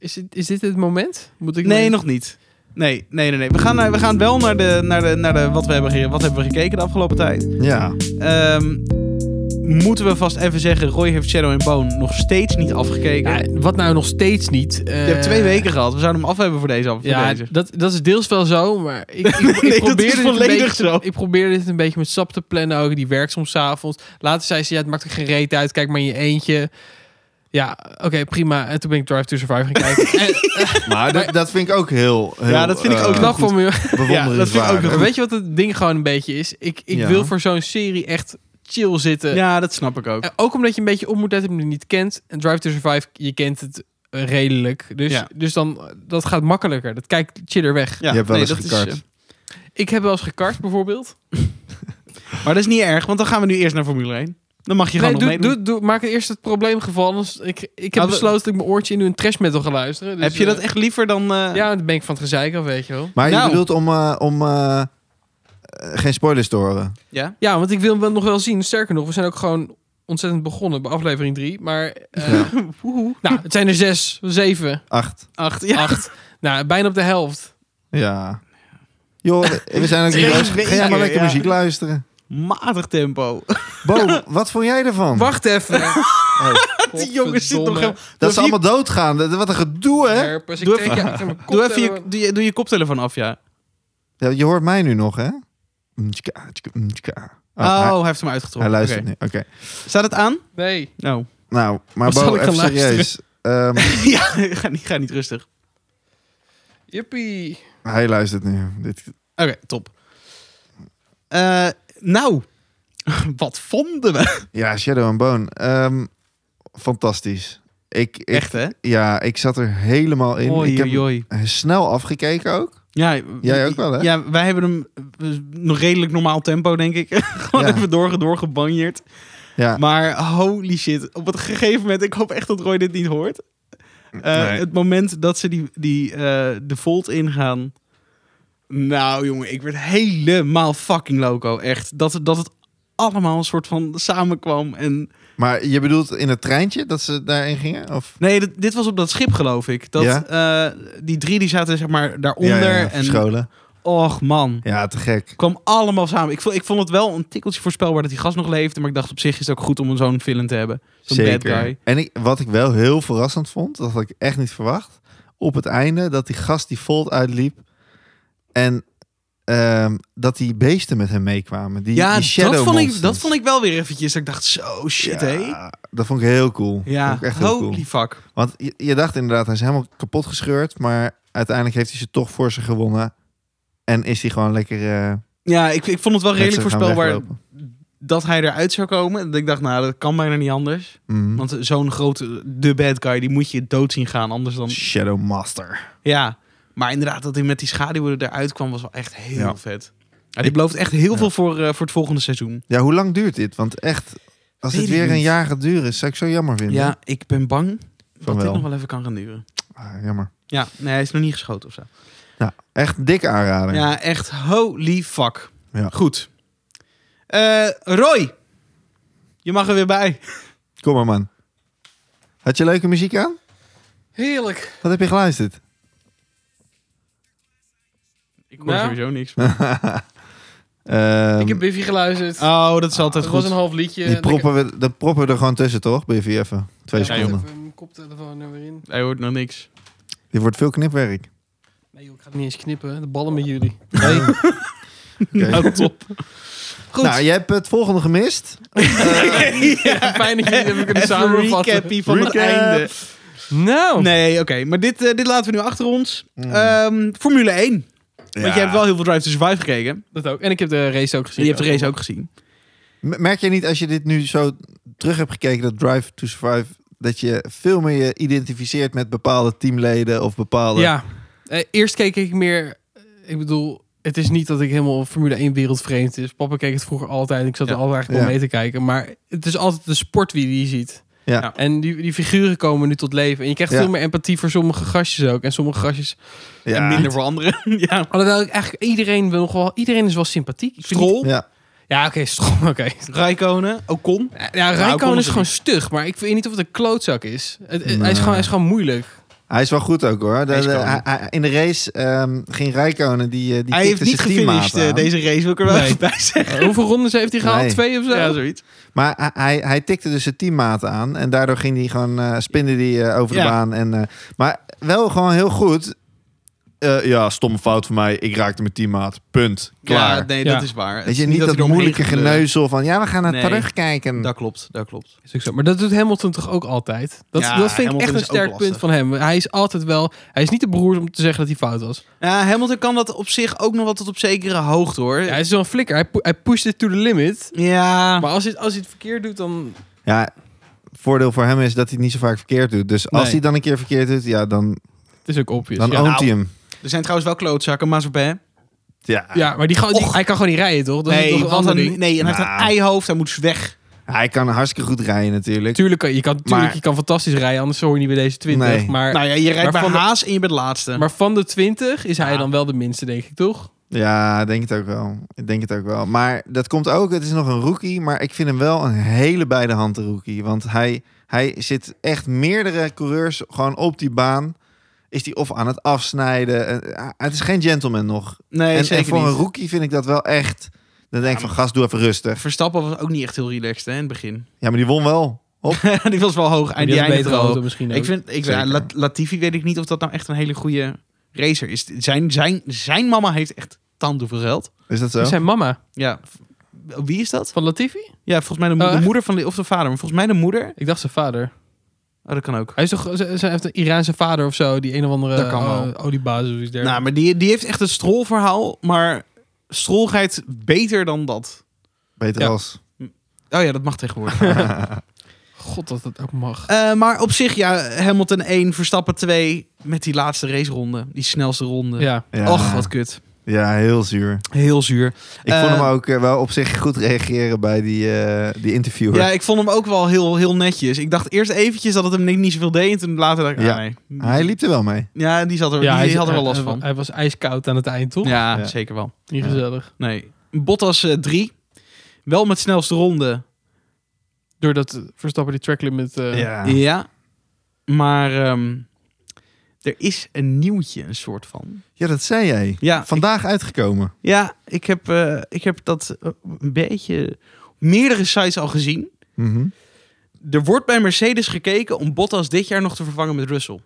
Speaker 3: Is dit, is dit het moment? Moet ik
Speaker 2: nee, nog niet. Nee, nee, nee. nee. We, gaan, naar- we gaan wel naar, de, naar, de, naar de, wat, we hebben, ge- wat hebben we gekeken de afgelopen tijd.
Speaker 1: Ja.
Speaker 2: Ehm, moeten we vast even zeggen, Roy heeft Shadow and Bone nog steeds niet afgekeken.
Speaker 3: Ja, wat nou nog steeds niet? Je
Speaker 2: Je hebt twee weken gehad. We zouden hem af hebben voor deze. Voor
Speaker 3: Eh. Ja,
Speaker 2: deze.
Speaker 3: dat, dat is deels wel zo, maar ik, ik, ik
Speaker 2: Nee, dat
Speaker 3: probeer
Speaker 2: is
Speaker 3: dit een
Speaker 2: volledig
Speaker 3: beetje-
Speaker 2: zo.
Speaker 3: Ik probeer dit een beetje met sap te plannen ook. Die werkt soms 's avonds. Later zei ze, ja, het maakt er geen reet uit. Kijk maar in je eentje. Ja, oké, prima. En toen ben ik Drive to Survive gaan kijken. en,
Speaker 1: Maar dat, dat vind ik ook heel... heel
Speaker 2: Ja, dat vind ik ook
Speaker 1: eh,
Speaker 2: wel
Speaker 3: knap voor me.
Speaker 1: bewonderenswaardig.
Speaker 2: Ja, dat vind ik ook wel
Speaker 3: Maar weet je wat het ding gewoon een beetje is? Ik, ik
Speaker 1: Ja.
Speaker 3: wil voor zo'n serie echt chill zitten.
Speaker 2: ja, dat snap ik ook.
Speaker 3: En Ook omdat je een beetje op moet dat je hem niet kent. En Drive to Survive, je kent het eh, redelijk. Dus,
Speaker 2: Ja.
Speaker 3: dus dan, eh, dat gaat makkelijker. Dat kijkt chiller weg.
Speaker 2: Ja,
Speaker 1: Je hebt wel eens
Speaker 2: dat is,
Speaker 1: gekart.
Speaker 2: eh,
Speaker 3: Ik heb wel eens gekart bijvoorbeeld.
Speaker 2: eh, maar dat is niet erg, want dan gaan we nu eerst naar Formule 1. Dan mag je
Speaker 3: Nee,
Speaker 2: gewoon nog
Speaker 3: doe,
Speaker 2: meedoen.
Speaker 3: doe, doe- maak eerst het probleemgeval. Anders, ik, ik heb
Speaker 2: Ah, we-
Speaker 3: besloten dat ik mijn oortje in nu een trash metal ga luisteren. dus,
Speaker 2: Heb je
Speaker 3: eh,
Speaker 2: dat echt liever dan... eh,
Speaker 3: Ja, dan ben ik van het gezeik af, weet je wel.
Speaker 1: Maar je
Speaker 2: Nou.
Speaker 1: bedoelt om, eh, om eh, eh, geen spoilers te horen.
Speaker 2: ja?
Speaker 3: Ja, want ik wil hem nog wel zien. Sterker nog, we zijn ook gewoon ontzettend begonnen bij aflevering 3. Maar eh,
Speaker 2: Woehoe.
Speaker 3: nou, het zijn er zes, zeven,
Speaker 1: Acht.
Speaker 2: Acht. Ja.
Speaker 3: acht. Nou, bijna op de helft.
Speaker 1: Ja. Joh, we- we zijn ook niet
Speaker 2: Twee
Speaker 1: boos. Ga jij
Speaker 2: weken,
Speaker 1: maar lekker
Speaker 2: ja.
Speaker 1: muziek luisteren.
Speaker 2: Matig tempo.
Speaker 1: Bo, wat vond jij ervan?
Speaker 3: Wacht even.
Speaker 2: Die jongen zit nog helemaal...
Speaker 1: dat ze
Speaker 2: Doe
Speaker 1: allemaal doodgaan. Dat- Wat een gedoe, hè?
Speaker 3: Herpes, ik
Speaker 2: Doe
Speaker 3: trek je uit mijn kop.
Speaker 2: Doe even je, doe je, doe je koptelefoon af, ja.
Speaker 1: Ja, je hoort mij nu nog, hè? Mm, tjika, tjika, mm, tjika. Oh,
Speaker 2: Oh,
Speaker 1: hij,
Speaker 2: hij heeft hem
Speaker 1: hij
Speaker 2: uitgetrokken.
Speaker 1: luistert
Speaker 2: Oké.
Speaker 1: nu. Oké.
Speaker 2: Staat het aan?
Speaker 3: Nee.
Speaker 2: Nou.
Speaker 1: Nou, maar
Speaker 3: Wat zal
Speaker 1: Bo,
Speaker 3: ik gaan
Speaker 1: even serieus. Ehm,
Speaker 2: ja, ga niet, ga niet rustig.
Speaker 3: Jippie.
Speaker 1: hij luistert nu. Dit,
Speaker 2: Oké, top. Eh, nou, wat vonden we?
Speaker 1: ja, Shadow and Bone. Ehm, fantastisch. Ik, ik,
Speaker 2: Echt, hè?
Speaker 1: Ja, ik zat er helemaal in.
Speaker 2: Oei,
Speaker 1: ik heb
Speaker 2: oei, oei.
Speaker 1: hem snel afgekeken ook.
Speaker 2: Ja,
Speaker 1: Jij ook wel, hè?
Speaker 2: Ja, wij hebben hem eh, nog redelijk normaal tempo, denk ik. Gewoon
Speaker 1: Ja.
Speaker 2: even door, doorgebanjeerd.
Speaker 1: Ja.
Speaker 2: Maar holy shit, op een gegeven moment, ik hoop echt dat Roy dit niet hoort. Eh,
Speaker 1: Nee.
Speaker 2: Het moment dat ze die, die, eh, de volt ingaan. Nou jongen, ik werd helemaal fucking loco, echt. Dat, dat het allemaal een soort van samenkwam en...
Speaker 1: Maar je bedoelt in het treintje dat ze daarin gingen? Of?
Speaker 2: Nee, dit, dit was op dat schip, geloof ik. Dat,
Speaker 1: Ja?
Speaker 2: eh, die drie die zaten zeg maar daaronder.
Speaker 1: Ja, ja, ja,
Speaker 2: en
Speaker 1: verscholen.
Speaker 2: och man,
Speaker 1: Ja, te gek.
Speaker 2: kwam allemaal samen. Ik vond, ik vond het wel een tikkeltje voorspelbaar dat die gast nog leefde. Maar ik dacht op zich is het ook goed om zo'n villain te hebben. Zo'n bad guy.
Speaker 1: En ik, wat ik wel heel verrassend vond, dat had ik echt niet verwacht. Op het einde dat die gast die Volt uitliep. En ehm, dat die beesten met hem meekwamen. Die,
Speaker 2: Ja,
Speaker 1: die shadow
Speaker 2: dat vond, ik,
Speaker 1: monsters.
Speaker 2: dat vond ik wel weer eventjes. Dat ik dacht, zo shit,
Speaker 1: Ja,
Speaker 2: hé.
Speaker 1: Dat vond ik heel cool.
Speaker 2: Ja,
Speaker 1: Vond ik echt heel
Speaker 2: holy
Speaker 1: cool.
Speaker 2: fuck.
Speaker 1: Want je, je dacht inderdaad, hij is helemaal kapot gescheurd. Maar uiteindelijk heeft hij ze toch voor zich gewonnen. En is hij gewoon lekker. eh,
Speaker 2: Ja, ik, ik vond het wel
Speaker 1: met
Speaker 2: redelijk
Speaker 1: ze gaan
Speaker 2: voorspelbaar
Speaker 1: weglopen.
Speaker 2: dat hij eruit zou komen. Dat ik dacht, nou, dat kan bijna niet anders.
Speaker 1: Mhm.
Speaker 2: Want zo'n grote, de bad guy, die moet je dood zien gaan. Anders dan
Speaker 1: Shadow Master.
Speaker 2: Ja, maar inderdaad, dat hij met die schaduwen eruit kwam, was wel echt heel
Speaker 1: Ja.
Speaker 2: vet. Ja, die belooft echt heel
Speaker 1: Ja.
Speaker 2: veel voor, eh, voor het volgende seizoen.
Speaker 1: Ja, hoe lang duurt dit? Want echt, als
Speaker 2: Weet
Speaker 1: dit
Speaker 2: ik
Speaker 1: weer een
Speaker 2: niet.
Speaker 1: jaar gaat duren, zou ik zo jammer vinden.
Speaker 2: Ja, ik ben bang dat dit
Speaker 1: wel.
Speaker 2: nog wel even kan gaan duren.
Speaker 1: Ah, jammer.
Speaker 2: Ja, nee, hij is nog niet geschoten of zo.
Speaker 1: Nou, echt dikke aanrader.
Speaker 2: Ja, echt holy fuck.
Speaker 1: Ja.
Speaker 2: Goed. Eh, Roy, je mag er weer bij.
Speaker 1: Kom maar, man. Had je leuke muziek aan?
Speaker 3: Heerlijk.
Speaker 1: Wat heb je geluisterd?
Speaker 2: Ik
Speaker 3: hoor sowieso
Speaker 2: niks.
Speaker 1: Ehm,
Speaker 3: ik
Speaker 2: eh,
Speaker 3: heb Biffy geluisterd.
Speaker 2: Oh, dat Oh, is altijd
Speaker 3: Het
Speaker 2: goed.
Speaker 3: was een half liedje.
Speaker 1: die proppen we, dat proppen we er gewoon tussen, toch? Biffy, even. Twee
Speaker 2: Ja,
Speaker 1: seconden.
Speaker 3: Even mijn koptelefoon er weer in.
Speaker 2: Hij hoort nog niks.
Speaker 1: Dit wordt veel knipwerk.
Speaker 3: Nee joh, ik ga het niet eens knippen. De ballen met jullie.
Speaker 1: Oké.
Speaker 2: Nou, top. Goed.
Speaker 1: Nou, je hebt het volgende gemist.
Speaker 3: Fijn dat jullie het hebben kunnen
Speaker 2: Even een
Speaker 3: samenvatten.
Speaker 2: recapie van
Speaker 1: Recap.
Speaker 2: het einde.
Speaker 3: Nou.
Speaker 2: Nee, oké. Maar dit, eh, dit laten we nu achter ons.
Speaker 1: Mm.
Speaker 2: Ehm, Formule 1. Want jij hebt wel heel veel Drive to Survive gekeken. En
Speaker 3: Dat ook. En ik heb de race ook gezien.
Speaker 2: je hebt de race ook gezien.
Speaker 1: M- Merk je niet als je dit nu zo terug hebt gekeken, dat Drive to Survive, dat je veel meer je identificeert met bepaalde teamleden of bepaalde...
Speaker 3: Ja. Eh, eerst keek ik meer... eh, Ik bedoel, het is niet dat ik helemaal Formule 1 wereldvreemd is. Papa keek het vroeger altijd. Ik zat
Speaker 2: Ja.
Speaker 3: er altijd eigenlijk wel
Speaker 1: Ja.
Speaker 3: mee te kijken. Maar het is altijd de sport wie die je ziet.
Speaker 1: Ja.
Speaker 2: Ja.
Speaker 3: En die, die figuren komen nu tot leven. En je krijgt
Speaker 1: Ja.
Speaker 3: veel meer empathie voor sommige gastjes ook. En sommige gastjes...
Speaker 1: Ja.
Speaker 2: En minder voor anderen. ja.
Speaker 3: Alhoewel ik eigenlijk iedereen wil nog wel... Iedereen is wel sympathiek. Ik vind niet-
Speaker 2: Strol,
Speaker 1: Ja.
Speaker 3: Ja, oké, Stroll, oké.
Speaker 2: Rijkonen, Ocon.
Speaker 3: Ja,
Speaker 2: Ocon
Speaker 3: Rijkoon
Speaker 2: is
Speaker 3: is
Speaker 2: er
Speaker 3: gewoon stug, maar ik weet niet of het een klootzak is. Het- het-
Speaker 1: Nou.
Speaker 3: hij, is gewoon, hij is gewoon moeilijk.
Speaker 1: Hij is wel goed ook hoor. De-
Speaker 3: Hij is
Speaker 1: de-
Speaker 3: koning.
Speaker 1: hij- hij- in de race ehm, ging Rijkonen die, eh, die
Speaker 2: Hij heeft
Speaker 1: tikte
Speaker 2: niet
Speaker 1: zijn teammaat
Speaker 2: gefinished eh,
Speaker 1: aan.
Speaker 2: deze race, wil ik er wel
Speaker 3: Nee.
Speaker 2: even bij zeggen.
Speaker 3: Eh, hoeveel rondes heeft hij gehaald?
Speaker 1: Nee.
Speaker 3: Twee of zo?
Speaker 2: Ja, zoiets.
Speaker 1: Maar hij, hij, hij tikte dus zijn teammaat aan. En daardoor ging hij gewoon, eh spinde hij eh, over
Speaker 2: Ja.
Speaker 1: de baan. En, eh, maar wel gewoon heel goed. Eh, ja, stomme fout van mij. Ik raakte mijn teammaat. Punt. Klaar.
Speaker 2: Ja, nee,
Speaker 3: Ja.
Speaker 2: dat is waar. Het
Speaker 1: Weet
Speaker 2: is
Speaker 1: je, niet
Speaker 2: hij
Speaker 1: dat,
Speaker 2: eromheen
Speaker 1: moeilijke
Speaker 2: gekleurd.
Speaker 1: geneuzel van... Ja, we gaan naar
Speaker 2: Nee.
Speaker 1: terugkijken.
Speaker 2: Dat klopt, dat klopt.
Speaker 3: Is ook zo. Maar dat doet Hamilton toch ook altijd? Dat,
Speaker 2: Ja,
Speaker 3: dat vind ik
Speaker 2: Hamilton
Speaker 3: echt een
Speaker 2: is ook
Speaker 3: sterk
Speaker 2: lastig.
Speaker 3: punt van hem. Hij is altijd wel... Hij is niet te beroerd om te zeggen dat hij fout was.
Speaker 2: Ja, Hamilton kan dat op zich ook nog wel tot op zekere hoogte, hoor.
Speaker 3: Ja, hij is zo'n flikker. Hij, pu- hij pusht it to the limit.
Speaker 2: Ja.
Speaker 3: Maar als hij, als hij het verkeerd doet, dan...
Speaker 1: Ja, voordeel voor hem is dat hij het niet zo vaak verkeerd doet. Dus als
Speaker 2: Nee.
Speaker 1: hij dan een keer verkeerd doet, ja, dan,
Speaker 3: Het is ook obvious.
Speaker 1: dan
Speaker 3: ja.
Speaker 1: ownt
Speaker 2: nou.
Speaker 1: hij hem.
Speaker 2: Er zijn trouwens wel klootzakken, Mazepin.
Speaker 1: Ja.
Speaker 3: Ja, maar die, ga- die-
Speaker 2: Och.
Speaker 3: hij kan gewoon niet rijden, toch? Dat is
Speaker 2: Nee,
Speaker 3: toch een
Speaker 2: want
Speaker 3: ander
Speaker 2: een,
Speaker 3: ding.
Speaker 2: nee, en hij heeft een
Speaker 1: Nou.
Speaker 2: eihoofd, hij moet weg.
Speaker 1: Hij kan hartstikke goed rijden natuurlijk.
Speaker 3: Tuurlijk, kan- je kan, tuurlijk,
Speaker 1: Maar-
Speaker 3: je kan fantastisch rijden, anders hoor je niet bij deze 20.
Speaker 1: Nee.
Speaker 3: Maar,
Speaker 2: nou ja, je rijdt
Speaker 3: maar
Speaker 2: bij
Speaker 3: van de-
Speaker 2: Haas en je bent laatste.
Speaker 3: maar van de 20 is hij
Speaker 2: Ja.
Speaker 3: dan wel de minste, denk ik, toch?
Speaker 1: Ja, ik denk het ook wel. Ik denk het ook wel. Maar dat komt ook, het is nog een rookie, maar ik vind hem wel een hele bij de hand rookie. Want hij, hij zit echt meerdere coureurs gewoon op die baan. Is die of aan het afsnijden. Eh, eh, Het is geen gentleman nog.
Speaker 2: nee,
Speaker 1: en,
Speaker 2: zeker
Speaker 1: en voor
Speaker 2: niet.
Speaker 1: een rookie vind ik dat wel echt... Dan denk ik van, gast, doe even rustig.
Speaker 2: Verstappen was ook niet echt heel relaxed hè, in het begin.
Speaker 1: Ja, maar die won wel. Hop.
Speaker 2: die was wel hoog. En
Speaker 3: Die
Speaker 2: die
Speaker 3: had een
Speaker 2: eindigde
Speaker 3: betere
Speaker 2: wel
Speaker 3: auto
Speaker 2: hoog.
Speaker 3: misschien ook.
Speaker 2: Ik vind, ik, ja,
Speaker 1: Zeker.
Speaker 2: Lat- Latifi weet ik niet of dat nou echt een hele goede racer is. Zijn, zijn, zijn mama heeft echt tanden voor geld.
Speaker 1: Is dat zo?
Speaker 3: Wie is zijn mama
Speaker 2: Ja. Wie is dat?
Speaker 3: van Latifi?
Speaker 2: Ja, volgens mij de, mo-
Speaker 3: Oh,
Speaker 2: de
Speaker 3: echt?
Speaker 2: moeder van de, of de vader. Maar volgens mij de moeder.
Speaker 3: Ik dacht zijn vader.
Speaker 2: Oh, dat kan ook.
Speaker 3: Hij is toch, ze, ze heeft een Iraanse vader of zo, die een of andere
Speaker 2: Dat kan wel.
Speaker 3: eh, oliebaas of iets dergelijks.
Speaker 2: Nou, maar die, die heeft echt het strolverhaal. Maar strol rijdt beter dan dat.
Speaker 1: Beter
Speaker 3: Ja.
Speaker 1: als.
Speaker 2: Oh ja, dat mag tegenwoordig.
Speaker 3: God, dat dat ook mag.
Speaker 2: Eh, maar op zich, ja, Hamilton 1, Verstappen 2. Met die laatste raceronde. Die snelste ronde.
Speaker 3: Ja.
Speaker 1: Ja.
Speaker 2: Och, wat kut.
Speaker 1: Ja, heel zuur.
Speaker 2: Heel zuur.
Speaker 1: Ik
Speaker 2: Eh,
Speaker 1: vond hem ook eh, wel op zich goed reageren bij die, eh, die interviewer.
Speaker 2: Ja, ik vond hem ook wel heel, heel netjes. Ik dacht eerst eventjes dat het hem niet- niet zoveel deed. En toen later dacht ik,
Speaker 1: Ja.
Speaker 2: ah, nee.
Speaker 1: Hij liep er wel mee.
Speaker 2: Ja, die, zat er, die,
Speaker 3: hij eh,
Speaker 2: had er wel
Speaker 3: hij-
Speaker 2: last
Speaker 3: hij-
Speaker 2: van.
Speaker 3: Hij was ijskoud aan het eind, toch?
Speaker 2: Ja,
Speaker 1: Ja.
Speaker 2: zeker wel.
Speaker 3: Niet
Speaker 1: Ja.
Speaker 3: gezellig.
Speaker 2: Nee. Bottas 3. wel met snelste ronde.
Speaker 3: Doordat Verstappen die tracklimit... eh
Speaker 1: Ja.
Speaker 2: Ja. Maar ehm, er is een nieuwtje, een soort van.
Speaker 1: ja, dat zei jij.
Speaker 2: Ja,
Speaker 1: Vandaag uitgekomen.
Speaker 2: ik, ja, ik, heb, eh, ik heb dat eh, een beetje op meerdere sites al gezien.
Speaker 1: Mhm.
Speaker 2: Er wordt bij Mercedes gekeken om Bottas dit jaar nog te vervangen met Russell.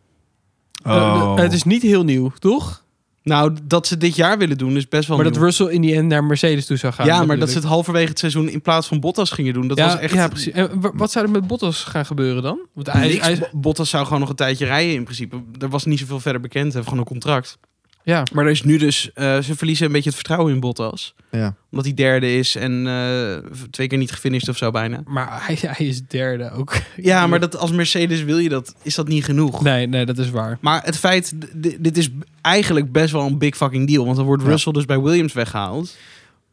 Speaker 1: Oh.
Speaker 2: Oh.
Speaker 3: eh, het is niet heel nieuw, toch?
Speaker 2: Nou, dat ze dit jaar willen doen is best wel
Speaker 3: maar dat
Speaker 2: nieuw.
Speaker 3: Russell in die end naar Mercedes toe zou gaan.
Speaker 2: ja, maar dat ze
Speaker 3: bedoel
Speaker 2: het halverwege het seizoen in plaats van Bottas gingen doen. Dat
Speaker 3: ik. ja,
Speaker 2: was echt...
Speaker 3: ja, precies. En wa- wat zou er met Bottas gaan gebeuren dan? Want hij,
Speaker 2: Niks.
Speaker 3: hij-
Speaker 2: Bo- Bottas zou gewoon nog een tijdje rijden in principe. Er was niet zoveel verder bekend. Hij heeft gewoon een contract.
Speaker 3: ja.
Speaker 2: Maar er is nu dus... eh, ze verliezen een beetje het vertrouwen in Bottas.
Speaker 1: Ja.
Speaker 2: Omdat hij derde is en eh, twee keer niet gefinished of zo bijna.
Speaker 3: Maar hij, hij is derde ook.
Speaker 2: Ja, maar dat, als Mercedes wil je dat, is dat niet genoeg.
Speaker 3: Nee, nee, dat is waar.
Speaker 2: Maar het feit... d- d- Dit is b- eigenlijk best wel een big fucking deal. Want dan wordt
Speaker 1: Ja.
Speaker 2: Russell dus bij Williams weggehaald.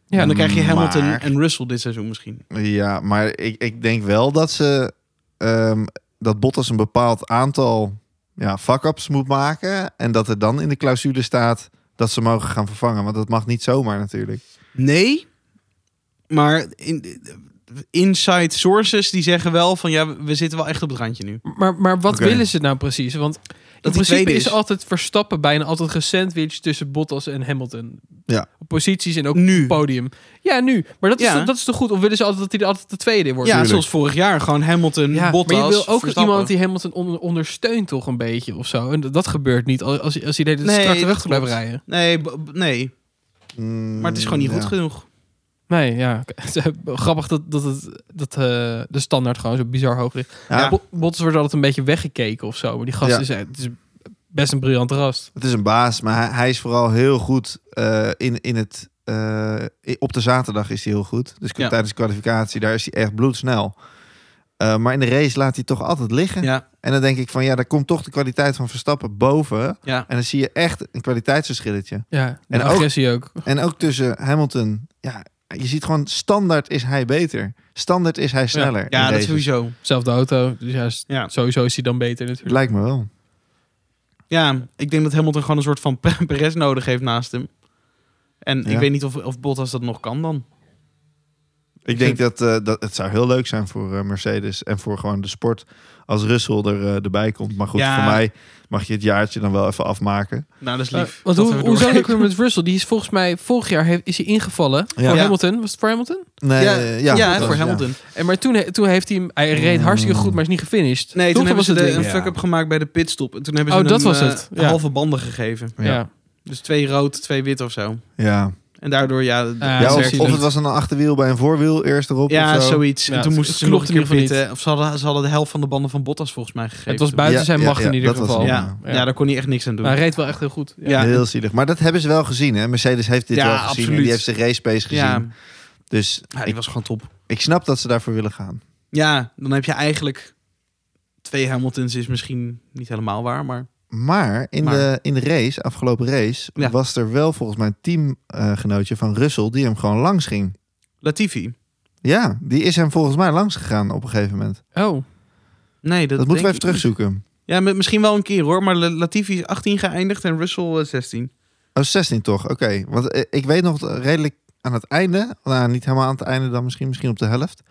Speaker 3: Ja,
Speaker 2: en dan krijg je Hamilton
Speaker 1: maar-
Speaker 2: en Russell dit seizoen misschien.
Speaker 1: Ja, maar ik, ik denk wel dat ze ehm, dat Bottas een bepaald aantal ja, fuck-ups moet maken. En dat er dan in de clausule staat dat ze mogen gaan vervangen. Want dat mag niet zomaar natuurlijk.
Speaker 2: Nee, maar in, inside sources die zeggen wel van ja, we zitten wel echt op het randje nu.
Speaker 3: Maar, maar wat
Speaker 1: Oké.
Speaker 3: willen ze nou precies? Want
Speaker 2: die
Speaker 3: in principe
Speaker 2: tweede
Speaker 3: is
Speaker 2: is.
Speaker 3: altijd Verstappen bijna altijd gesandwiched tussen Bottas en Hamilton.
Speaker 1: Ja.
Speaker 3: Op posities en ook
Speaker 2: Nu.
Speaker 3: op podium. Ja, nu. Maar dat is,
Speaker 2: Ja.
Speaker 3: toch, dat is toch goed? Of willen ze altijd dat hij er altijd de tweede in wordt?
Speaker 2: Ja,
Speaker 1: Tuurlijk.
Speaker 2: zoals vorig jaar gewoon Hamilton, Bottas,
Speaker 3: maar je wil ook
Speaker 2: Verstappen.
Speaker 3: iemand die Hamilton on- ondersteunt toch een beetje of zo. En dat, dat gebeurt niet als, als, als hij de hele tijd
Speaker 2: Nee,
Speaker 3: strak de
Speaker 2: dat
Speaker 3: weg blijft
Speaker 2: klopt.
Speaker 3: rijden.
Speaker 2: Nee, b- b- nee,
Speaker 1: Mm,
Speaker 2: maar het is gewoon niet
Speaker 1: ja.
Speaker 2: goed genoeg.
Speaker 3: Nee, ja. eh, Grappig dat, dat, het, dat eh, de standaard gewoon zo bizar hoog ligt.
Speaker 1: Ja,
Speaker 3: Bo- Bottas wordt altijd een beetje weggekeken of zo. Maar die gast
Speaker 1: Ja.
Speaker 3: is, eh, het is best een briljant rast.
Speaker 1: Het is een baas, maar hij, hij is vooral heel goed eh, in, in het... eh, i- op de zaterdag is hij heel goed. Dus
Speaker 2: Ja.
Speaker 1: tijdens de kwalificatie, daar is hij echt bloedsnel. Eh, maar in de race laat hij toch altijd liggen.
Speaker 2: Ja,
Speaker 1: En dan denk ik van ja, daar komt toch de kwaliteit van Verstappen boven.
Speaker 2: ja.
Speaker 1: En dan zie je echt een kwaliteitsverschilletje.
Speaker 3: Ja, en
Speaker 1: En ook-
Speaker 3: agressie ook.
Speaker 1: En ook tussen Hamilton, ja, je ziet gewoon standaard is hij beter. Standaard is hij sneller. in
Speaker 2: Ja, dat
Speaker 1: races.
Speaker 2: sowieso.
Speaker 3: Zelfde auto. Dus ja, s-
Speaker 2: Ja.
Speaker 3: sowieso is hij dan beter natuurlijk.
Speaker 1: Lijkt me wel.
Speaker 2: ja, ik denk dat Hamilton gewoon een soort van Perez nodig heeft naast hem. En ik
Speaker 1: Ja.
Speaker 2: weet niet of, of Bottas dat nog kan dan.
Speaker 1: Ik denk dat, eh, dat het zou heel leuk zijn voor eh, Mercedes en voor gewoon de sport als Russell er, eh, erbij komt. Maar goed,
Speaker 2: Ja.
Speaker 1: voor mij mag je het jaartje dan wel even afmaken.
Speaker 2: Nou, dat is
Speaker 3: Eh,
Speaker 2: lief.
Speaker 3: want
Speaker 2: Dat
Speaker 3: hoe,
Speaker 2: hebben we
Speaker 3: hoe zat het ook
Speaker 2: doorgegeven.
Speaker 3: weer met Russell? Die is volgens mij vorig jaar heeft, is hij ingevallen
Speaker 1: Ja.
Speaker 3: voor
Speaker 2: Ja.
Speaker 3: Hamilton. Was het voor Hamilton?
Speaker 1: Nee,
Speaker 2: Ja,
Speaker 1: eh,
Speaker 2: ja,
Speaker 1: ja, dat
Speaker 2: voor
Speaker 1: was-
Speaker 2: Hamilton.
Speaker 3: En maar toen, he- toen heeft hij hem, hij reed
Speaker 1: Mm.
Speaker 3: hartstikke goed, maar is niet gefinished.
Speaker 2: Nee,
Speaker 3: Toch?
Speaker 2: toen hebben
Speaker 3: Dat
Speaker 2: ze
Speaker 3: was
Speaker 2: de,
Speaker 3: het
Speaker 2: een
Speaker 3: ding.
Speaker 2: fuck-up gemaakt bij de pitstop. En toen hebben ze
Speaker 3: Oh, dat
Speaker 2: hem,
Speaker 3: was
Speaker 2: eh,
Speaker 3: het. Ja.
Speaker 2: halve banden gegeven.
Speaker 1: Ja.
Speaker 3: Ja.
Speaker 2: Dus twee rood, twee wit of zo.
Speaker 1: Ja,
Speaker 2: En daardoor, ja... d-
Speaker 3: Ja,
Speaker 1: Ja,
Speaker 3: dat
Speaker 1: of,
Speaker 3: werkt
Speaker 1: of
Speaker 3: niet.
Speaker 1: het was een achterwiel bij een voorwiel eerst erop
Speaker 2: ja,
Speaker 1: of zo.
Speaker 2: zoiets.
Speaker 3: Ja,
Speaker 2: en toen
Speaker 3: het-
Speaker 2: moesten
Speaker 3: het
Speaker 2: ze nog een
Speaker 3: klopte
Speaker 2: keer
Speaker 3: in ieder geval
Speaker 2: pitten. Of ze hadden, ze hadden de helft van de banden van Bottas volgens mij gegeven.
Speaker 3: Het was buiten
Speaker 1: Ja,
Speaker 3: zijn
Speaker 1: ja,
Speaker 3: macht
Speaker 1: ja,
Speaker 3: in ieder
Speaker 1: dat was
Speaker 3: geval.
Speaker 1: hem.
Speaker 2: Ja, ja.
Speaker 3: Ja.
Speaker 2: daar kon hij echt niks aan doen.
Speaker 3: Maar hij reed wel echt heel goed. Ja.
Speaker 2: Ja.
Speaker 1: Heel zielig. Maar dat hebben ze wel gezien, hè? Mercedes heeft dit
Speaker 2: Ja,
Speaker 1: wel gezien.
Speaker 2: absoluut.
Speaker 1: En die heeft zijn race pace gezien.
Speaker 2: ja,
Speaker 1: Dus
Speaker 2: ja, die
Speaker 1: ik,
Speaker 2: was gewoon top.
Speaker 1: ik snap dat ze daarvoor willen gaan.
Speaker 2: Ja, dan heb je eigenlijk... Twee Hamiltons is misschien niet helemaal waar, maar...
Speaker 1: Maar in,
Speaker 2: Maar-
Speaker 1: De, in de race, afgelopen race,
Speaker 2: Ja.
Speaker 1: was er wel volgens mij een teamgenootje van Russell die hem gewoon langs ging.
Speaker 2: Latifi.
Speaker 1: Ja, die is hem volgens mij langs gegaan op een gegeven moment.
Speaker 3: Oh,
Speaker 2: Nee, dat,
Speaker 1: Dat, moeten
Speaker 2: denk
Speaker 1: we
Speaker 2: ik dus.
Speaker 1: even terugzoeken.
Speaker 2: niet. Ja, mi- misschien wel een keer hoor. Maar La- Latifi is 18 geëindigd en Russell eh, 16.
Speaker 1: Oh, 16 toch? Oké. Want eh, ik weet nog redelijk aan het einde, nou niet helemaal aan het einde dan misschien, misschien op de helft.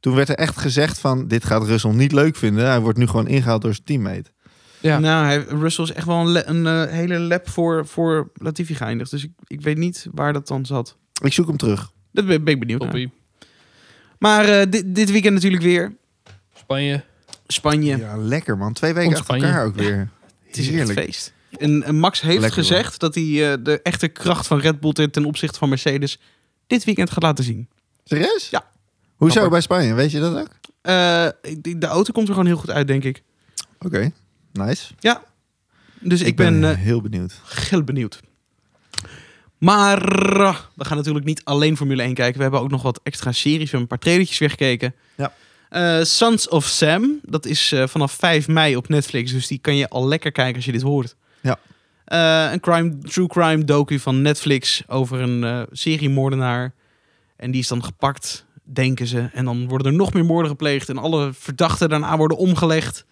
Speaker 1: Toen werd er echt gezegd van, dit gaat Russell niet leuk vinden. Hij wordt nu gewoon ingehaald door zijn teammate.
Speaker 3: Ja.
Speaker 2: Nou, hij, Russell is echt wel een, le- een eh, hele lap voor, voor Latifi geëindigd. Dus ik, ik weet niet waar dat dan zat.
Speaker 1: Ik zoek hem terug.
Speaker 2: Dat ben, ben ik benieuwd naar.
Speaker 3: toppie.
Speaker 2: Maar eh, dit, dit weekend natuurlijk weer
Speaker 3: Spanje.
Speaker 2: Spanje.
Speaker 1: Ja, lekker man. Twee weken achter
Speaker 3: Ontspan je.
Speaker 1: elkaar ook weer.
Speaker 2: Het is
Speaker 1: Heerlijk.
Speaker 2: echt feest. En, en Max heeft
Speaker 1: Lekker,
Speaker 2: gezegd dat hij eh, de echte kracht van Red Bull ten ten opzichte van Mercedes dit weekend gaat laten zien.
Speaker 1: Serieus?
Speaker 2: Ja.
Speaker 1: Hoezo
Speaker 2: Apart.
Speaker 1: bij Spanje? Weet je dat ook?
Speaker 2: Eh, ik- de auto komt er gewoon heel goed uit, denk ik.
Speaker 1: Oké, nice.
Speaker 2: Dus ik, ben,
Speaker 1: eh,
Speaker 2: eh,
Speaker 1: heel benieuwd.
Speaker 2: heel benieuwd. Maar eh, we gaan natuurlijk niet alleen Formule 1 kijken. We hebben ook nog wat extra series. We hebben een paar trailertjes weggekeken.
Speaker 1: Ja.
Speaker 2: Eh, Sons of Sam. Dat is eh, vanaf 5 mei op Netflix. Dus die kan je al lekker kijken als je dit hoort.
Speaker 1: Ja.
Speaker 2: Eh, een crime, true crime docu van Netflix over een eh seriemoordenaar. En die is dan gepakt, denken ze. En dan worden er nog meer moorden gepleegd. En alle verdachten daarna worden omgelegd.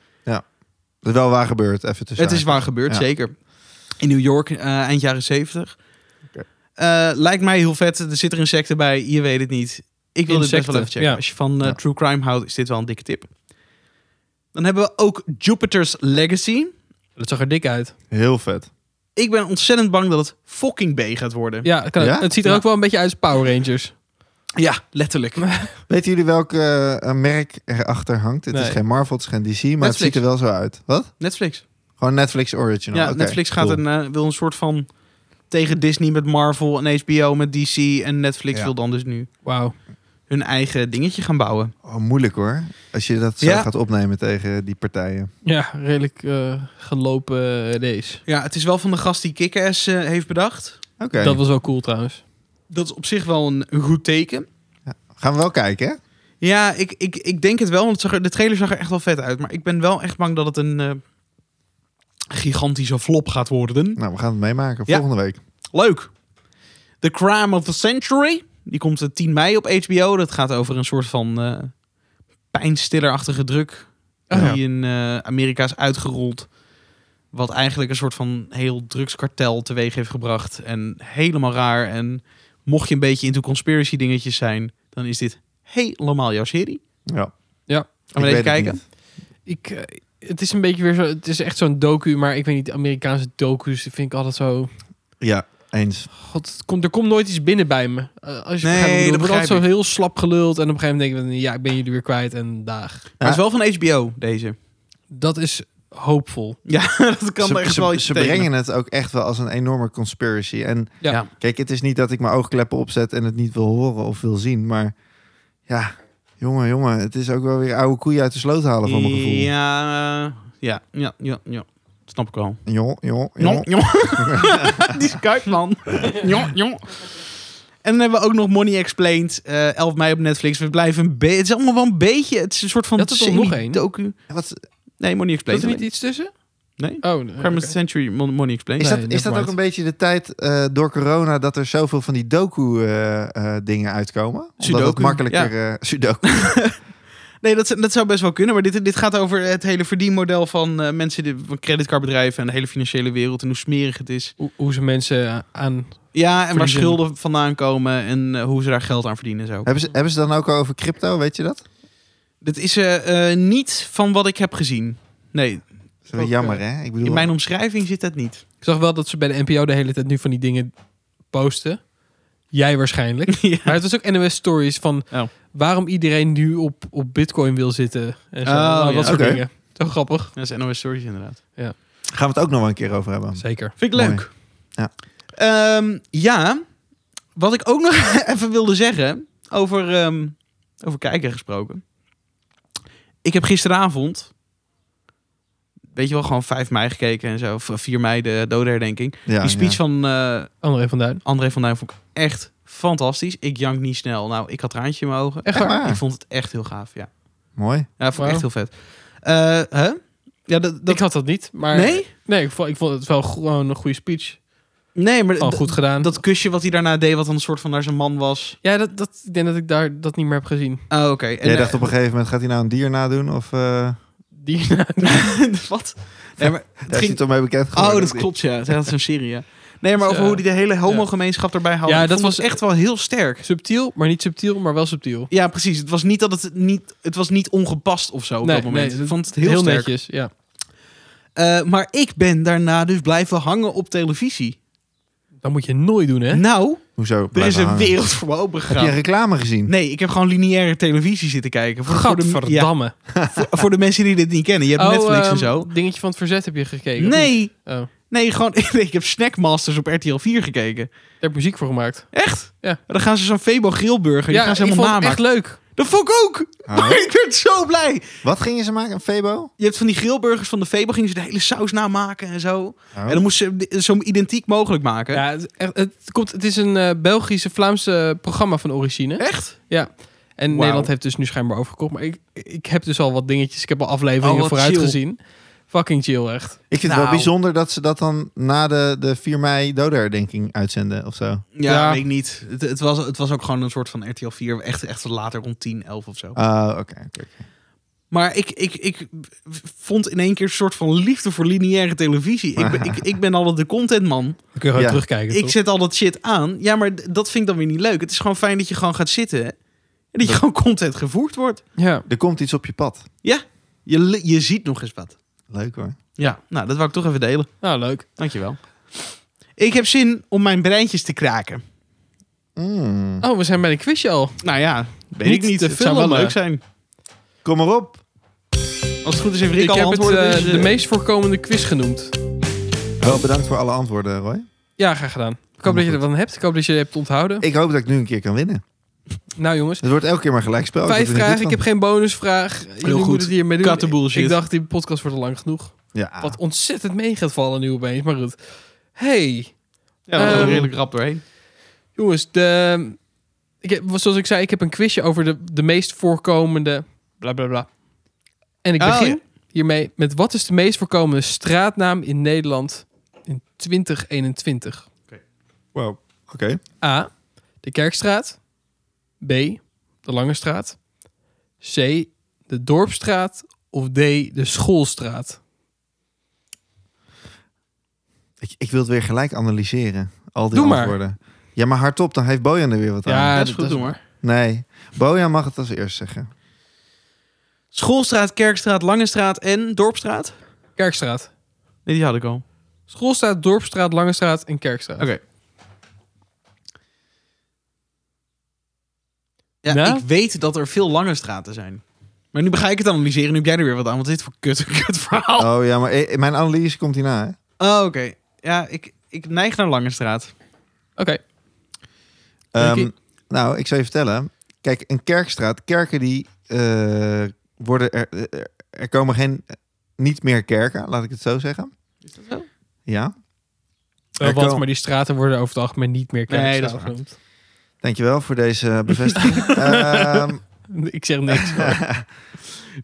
Speaker 1: Dat is wel waar gebeurd, even tussen.
Speaker 2: Het is waar gebeurd,
Speaker 1: Ja.
Speaker 2: zeker. In New York, eh, eind jaren zeventig. Eh,
Speaker 1: Oké.
Speaker 2: lijkt mij heel vet. Er zitten insecten bij. Je weet het niet. Ik wil dit best
Speaker 3: Insecten,
Speaker 2: wel even checken.
Speaker 3: ja.
Speaker 2: Als je van eh,
Speaker 1: Ja.
Speaker 2: true crime houdt, is dit wel een dikke tip. Dan hebben we ook Jupiter's Legacy.
Speaker 3: Dat zag er dik uit.
Speaker 1: Heel vet.
Speaker 2: Ik ben ontzettend bang dat het fucking B gaat worden.
Speaker 3: Ja, het kan,
Speaker 1: Ja?
Speaker 3: het ziet er
Speaker 2: Ja.
Speaker 3: ook wel een beetje uit als Power Rangers.
Speaker 2: Ja, letterlijk.
Speaker 1: Weten jullie welk eh, een merk erachter hangt? Het is
Speaker 3: Nee.
Speaker 1: geen Marvel, het is geen DC, maar het
Speaker 2: Netflix.
Speaker 1: ziet er wel zo uit. Wat?
Speaker 2: Netflix.
Speaker 1: Gewoon Netflix Original.
Speaker 2: Ja,
Speaker 1: Oké,
Speaker 2: Netflix gaat
Speaker 1: cool.
Speaker 2: een, eh, wil een soort van tegen Disney met Marvel en HBO met DC. En Netflix
Speaker 1: Ja.
Speaker 2: wil dan dus nu
Speaker 3: Wauw.
Speaker 2: hun eigen dingetje gaan bouwen.
Speaker 1: Oh, moeilijk hoor. Als je dat zo
Speaker 2: Ja.
Speaker 1: gaat opnemen tegen die partijen.
Speaker 3: Ja, redelijk eh, gelopen eh, race.
Speaker 2: Ja, het is wel van de gast die Kick-Ass eh, heeft bedacht.
Speaker 1: Oké.
Speaker 3: Dat was wel cool trouwens.
Speaker 2: Dat is op zich wel een, een goed teken.
Speaker 1: Gaan we wel kijken, hè?
Speaker 2: Ja, ik, ik, ik denk het wel, want het zag er- de trailer zag er echt wel vet uit. Maar ik ben wel echt bang dat het een eh, gigantische flop gaat worden.
Speaker 1: Nou, we gaan het meemaken
Speaker 2: Ja.
Speaker 1: volgende week.
Speaker 2: Leuk! The Crime of the Century. Die komt eh, 10 mei op HBO. Dat gaat over een soort van eh pijnstillerachtige druk.
Speaker 1: Oh, Ja.
Speaker 2: Die in eh, Amerika is uitgerold. Wat eigenlijk een soort van heel drugskartel teweeg heeft gebracht. En helemaal raar. En mocht je een beetje into conspiracy dingetjes zijn, dan is dit helemaal jouw serie.
Speaker 1: Ja.
Speaker 3: Ja.
Speaker 2: Gaan we
Speaker 1: Ik
Speaker 2: even
Speaker 1: weet het
Speaker 2: kijken?
Speaker 1: niet.
Speaker 3: Ik, eh, het is een beetje weer zo. Het is echt zo'n docu, maar ik weet niet. Amerikaanse docu's vind ik altijd zo.
Speaker 1: Ja, eens.
Speaker 3: God, het komt, er komt nooit iets binnen bij me. Eh, als je
Speaker 2: Nee,
Speaker 3: begrijpt wat ik bedoel.
Speaker 2: dat
Speaker 3: Er wordt
Speaker 2: begrijp
Speaker 3: altijd zo heel slap geluld. En op een gegeven moment denk ik, ja, ik ben jullie weer kwijt. En daag.
Speaker 2: Maar het is wel van HBO, deze.
Speaker 3: Dat is hoopvol.
Speaker 2: Ja, dat kan
Speaker 1: ze,
Speaker 2: echt
Speaker 1: ze-
Speaker 2: wel iets
Speaker 1: ze
Speaker 2: betekenen.
Speaker 1: brengen het ook echt wel als een enorme conspiracy. En
Speaker 3: Ja.
Speaker 2: Ja.
Speaker 1: kijk, het is niet dat ik mijn oogkleppen opzet en het niet wil horen of wil zien. Maar ja, jongen, jongen, het is ook wel weer oude koeien uit de sloot halen van mijn gevoel. Ja.
Speaker 2: Ja, eh, ja, ja, ja, ja. Snap ik wel.
Speaker 1: Jong, jong,
Speaker 2: Jong,
Speaker 1: jong.
Speaker 2: jong. Die Skype-man. jong, jong. En dan hebben we ook nog Money Explained. eh 11 mei op Netflix. We blijven een beetje... Het is allemaal wel een beetje... Het is een soort van...
Speaker 3: Je had er toch nog één?
Speaker 2: semi-docu.
Speaker 1: Wat,
Speaker 2: Nee, Money
Speaker 3: Zit
Speaker 2: Explained.
Speaker 3: er niet
Speaker 2: alleen.
Speaker 3: iets tussen?
Speaker 2: Nee.
Speaker 3: Oh,
Speaker 2: Crime of
Speaker 3: oké.
Speaker 2: the Century, Mon- Money Explained.
Speaker 1: Is
Speaker 3: Nee,
Speaker 1: dat, is
Speaker 3: never
Speaker 1: dat ook
Speaker 3: mind.
Speaker 1: een beetje de tijd eh, door corona dat er zoveel van die doku-dingen uitkomen? Omdat het
Speaker 2: Sudoku,
Speaker 1: makkelijker... eh sudoku.
Speaker 2: Nee, dat, zou- dat zou best wel kunnen. Maar dit, dit gaat over het hele verdienmodel van eh, mensen... Die, van creditcardbedrijven en de hele financiële wereld. En hoe smerig het is.
Speaker 3: Hoe, hoe ze mensen aan...
Speaker 2: Ja, en waar
Speaker 3: Verliezen.
Speaker 2: schulden vandaan komen. En eh, hoe ze daar geld aan verdienen en zo.
Speaker 1: hebben, ze, hebben ze dan ook al over crypto, weet je dat?
Speaker 2: Dit is eh, eh, niet van wat ik heb gezien. Nee,
Speaker 1: Dat is wel
Speaker 3: Ook,
Speaker 1: jammer, hè? Ik bedoel,
Speaker 2: eh, in mijn omschrijving zit dat niet.
Speaker 3: Ik zag wel dat ze bij de NPO de hele tijd nu van die dingen posten. Jij waarschijnlijk.
Speaker 2: Ja.
Speaker 3: Maar het was ook NOS Stories van
Speaker 2: Oh.
Speaker 3: waarom iedereen nu op, op Bitcoin wil zitten. En zo.
Speaker 2: Oh,
Speaker 3: Nou,
Speaker 2: ja.
Speaker 3: dat soort
Speaker 1: Oké.
Speaker 3: dingen. Zo grappig.
Speaker 2: Dat is NOS Stories inderdaad.
Speaker 1: gaan we het ook nog wel een keer over hebben.
Speaker 3: Zeker.
Speaker 2: Vind ik
Speaker 1: Mooi.
Speaker 2: leuk.
Speaker 1: Ja.
Speaker 2: Ehm, ja, wat ik ook nog even wilde zeggen over, ehm, over kijken gesproken. Ik heb gisteravond, weet je wel, gewoon 5 mei gekeken en zo. Of 4 mei de dodenherdenking.
Speaker 1: Ja,
Speaker 2: Die speech
Speaker 1: ja.
Speaker 2: van eh,
Speaker 3: André van Duin.
Speaker 2: André van Duin vond ik echt fantastisch. Ik jank niet snel. Nou, ik had traantje in mijn ogen.
Speaker 3: Echt
Speaker 1: waar?
Speaker 2: Ik vond het echt heel gaaf, ja.
Speaker 1: Mooi.
Speaker 2: Ja, dat vond ik echt heel
Speaker 3: Wauw.
Speaker 2: vet. Eh, hè? Ja, dat, dat...
Speaker 3: Ik had dat niet, maar...
Speaker 2: Nee?
Speaker 3: Nee, ik vond, ik vond het wel gewoon een goede speech.
Speaker 2: Nee, maar
Speaker 3: Al
Speaker 2: d-
Speaker 3: goed gedaan.
Speaker 2: Oh, dat kusje wat hij daarna deed, wat dan een soort van naar zijn man was.
Speaker 3: ja, dat, dat, ik denk dat ik daar dat niet meer heb gezien.
Speaker 2: Oh, oké. En,
Speaker 1: Jij
Speaker 2: eh,
Speaker 1: dacht op een gegeven moment, gaat hij nou een dier nadoen? Of eh,
Speaker 3: Die,
Speaker 2: wat? Nee, maar
Speaker 1: daar is
Speaker 2: het
Speaker 1: hij
Speaker 2: ging...
Speaker 1: toch mee bekend
Speaker 2: Oh,
Speaker 1: geworden?
Speaker 2: dat klopt, ja. Dat is een serie, ja. Nee, maar over
Speaker 3: Ja.
Speaker 2: hoe hij de hele homogemeenschap erbij haalde.
Speaker 3: Ja,
Speaker 2: Ik
Speaker 3: dat
Speaker 2: vond het
Speaker 3: was-
Speaker 2: echt wel heel sterk.
Speaker 3: subtiel, maar niet subtiel, maar wel subtiel.
Speaker 2: Ja, precies. Het was niet dat het niet, het was niet ongepast of zo op
Speaker 3: Nee,
Speaker 2: dat moment.
Speaker 3: nee,
Speaker 2: ik vond het heel, sterk.
Speaker 3: netjes, ja.
Speaker 2: Eh, maar ik ben daarna dus blijven hangen op televisie.
Speaker 3: Dat moet je nooit doen, hè?
Speaker 2: Nou,
Speaker 1: Hoezo?
Speaker 2: er is
Speaker 1: Blijven
Speaker 2: een
Speaker 1: hangen.
Speaker 2: wereld voor me
Speaker 1: Heb je een
Speaker 2: opengegaan.
Speaker 1: reclame gezien?
Speaker 2: Nee, ik heb gewoon lineaire televisie zitten kijken. Voor, voor, de, ja,
Speaker 3: Gadverdamme.
Speaker 2: voor, voor de mensen die dit niet kennen. Je hebt
Speaker 3: Oh,
Speaker 2: Netflix
Speaker 3: ehm,
Speaker 2: en zo.
Speaker 3: Dingetje van het verzet heb je gekeken. of niet?
Speaker 2: Nee,
Speaker 3: Oh.
Speaker 2: nee, gewoon. ik heb Snackmasters op RTL 4 gekeken.
Speaker 3: Daar heb ik muziek voor gemaakt.
Speaker 2: Echt?
Speaker 3: Ja.
Speaker 2: Dan gaan ze zo'n Febo Grillburger. die gaan ze
Speaker 3: ik
Speaker 2: helemaal
Speaker 3: vond het
Speaker 2: namaken.
Speaker 3: echt leuk.
Speaker 2: Dat vond ik ook.
Speaker 1: Oh.
Speaker 2: Maar ik werd zo blij.
Speaker 1: Wat gingen ze maken? Een Febo? Oh.
Speaker 2: Je hebt van die grillburgers van de Febo, gingen ze de hele saus namaken en zo.
Speaker 1: Oh.
Speaker 2: En dan moest ze de- zo identiek mogelijk maken.
Speaker 3: Ja, het, is echt- het, komt, het is een eh, Belgische-Vlaamse programma van origine.
Speaker 2: Echt?
Speaker 3: Ja. En
Speaker 2: Wauw.
Speaker 3: Nederland heeft dus nu schijnbaar overgekocht. Maar ik, ik heb dus al wat dingetjes. Ik heb al afleveringen
Speaker 2: Oh, wat
Speaker 3: vooruit
Speaker 2: chill.
Speaker 3: gezien. Fucking chill, echt.
Speaker 1: Ik vind het
Speaker 2: Nou.
Speaker 1: wel bijzonder dat ze dat dan na de, de 4 mei dodenherdenking uitzenden of zo.
Speaker 2: Ja,
Speaker 3: Ja.
Speaker 2: weet ik niet. Het, het, was, het was ook gewoon een soort van RTL 4, echt, echt later rond 10, 11 of zo.
Speaker 1: Oh, oké. oké, oké.
Speaker 2: Maar ik, ik, ik vond in één keer een soort van liefde voor lineaire televisie. Ik ben, ik, ik ben altijd de contentman.
Speaker 3: Dan kun je
Speaker 1: gewoon
Speaker 3: terugkijken,
Speaker 2: Ik zet al dat shit aan. Ja, maar d- dat vind ik dan weer niet leuk. Het is gewoon fijn dat je gewoon gaat zitten. En dat je gewoon content gevoerd wordt.
Speaker 3: Ja.
Speaker 1: Er komt iets op je pad.
Speaker 2: Je, le- je ziet nog eens wat.
Speaker 1: Leuk hoor.
Speaker 2: Ja, nou, dat wou ik toch even delen.
Speaker 3: Nou, leuk.
Speaker 2: Dankjewel. Ik heb zin om mijn breintjes te kraken.
Speaker 1: Mm.
Speaker 3: Oh, we zijn bij een quizje al.
Speaker 2: Nou ja, weet
Speaker 3: Niet
Speaker 2: ik niet.
Speaker 3: te
Speaker 2: Het zou wel
Speaker 3: filmen.
Speaker 2: leuk zijn.
Speaker 1: Kom maar op.
Speaker 2: Als het goed is, heeft Rick
Speaker 3: ik
Speaker 2: al
Speaker 3: heb het,
Speaker 2: antwoorden.
Speaker 3: eh,
Speaker 2: dus, eh,
Speaker 3: de meest voorkomende quiz genoemd.
Speaker 1: Wel bedankt voor alle antwoorden, Roy.
Speaker 3: Ja, graag gedaan. Ik hoop dat je er wat aan hebt. Ik hoop dat je het hebt onthouden.
Speaker 1: Ik hoop dat ik nu een keer kan winnen.
Speaker 3: Nou, jongens.
Speaker 2: Oh,
Speaker 1: Het wordt elke keer maar gelijkspel.
Speaker 3: Vijf vragen, ik heb
Speaker 1: geen...
Speaker 3: geen bonusvraag. Jullie
Speaker 2: goed.
Speaker 3: moeten het hiermee doen.
Speaker 2: Katte bullshit.
Speaker 3: Ik dacht, die podcast wordt al lang genoeg.
Speaker 1: Ja.
Speaker 3: Wat ontzettend mee gaat vallen nu opeens, maar goed. Hey,
Speaker 2: ja, we gaan er
Speaker 3: ehm,
Speaker 2: redelijk rap doorheen.
Speaker 3: jongens. De, ik heb, zoals ik zei, ik heb een quizje over de, de meest voorkomende bla bla bla. En ik
Speaker 2: Oh,
Speaker 3: begin
Speaker 2: ja.
Speaker 3: hiermee met wat is de meest voorkomende straatnaam in Nederland in 2021?
Speaker 1: Wow. Oké.
Speaker 3: A. De Kerkstraat. B. De Lange Straat. C. De Dorpstraat. Of D. De Schoolstraat.
Speaker 1: Ik, ik wil het weer gelijk analyseren. Al die
Speaker 3: Doe maar.
Speaker 1: antwoorden. Ja, maar hardop, dan heeft Bojan er weer wat aan.
Speaker 3: Ja,
Speaker 2: dat is goed,
Speaker 3: dat-
Speaker 2: doen hoor.
Speaker 1: Nee. Bojan mag het als eerst zeggen.
Speaker 2: Schoolstraat, Kerkstraat, Langestraat en Dorpstraat?
Speaker 3: Kerkstraat.
Speaker 2: Nee, die had ik al.
Speaker 3: Schoolstraat, Dorpstraat, Lange Straat en Kerkstraat.
Speaker 2: Oké. Ja,
Speaker 3: Nou?
Speaker 2: ik weet dat er veel lange straten zijn. Maar nu ga ik het analyseren. Nu heb jij er weer wat aan. Wat is dit voor kut, kut verhaal? Oh,
Speaker 1: Oh ja, maar eh, mijn analyse komt hierna. Hè?
Speaker 2: oké. Ja, ik, ik neig naar lange straat.
Speaker 3: Oké.
Speaker 1: Ehm,
Speaker 3: Denk
Speaker 1: nou, ik zou je vertellen. Kijk, een kerkstraat, kerken die eh, worden er, er- er komen geen niet meer kerken, laat ik het zo zeggen.
Speaker 2: Is dat zo?
Speaker 1: Ja,
Speaker 3: Wel
Speaker 1: Er
Speaker 3: wat,
Speaker 1: komen-
Speaker 3: Eh, maar die straten worden over het algemeen niet meer
Speaker 2: Nee,
Speaker 3: Kerkstraat
Speaker 2: dat is waar.
Speaker 3: genoemd.
Speaker 1: dankjewel voor deze bevestiging. Ehm,
Speaker 3: Ik zeg niks. hoor.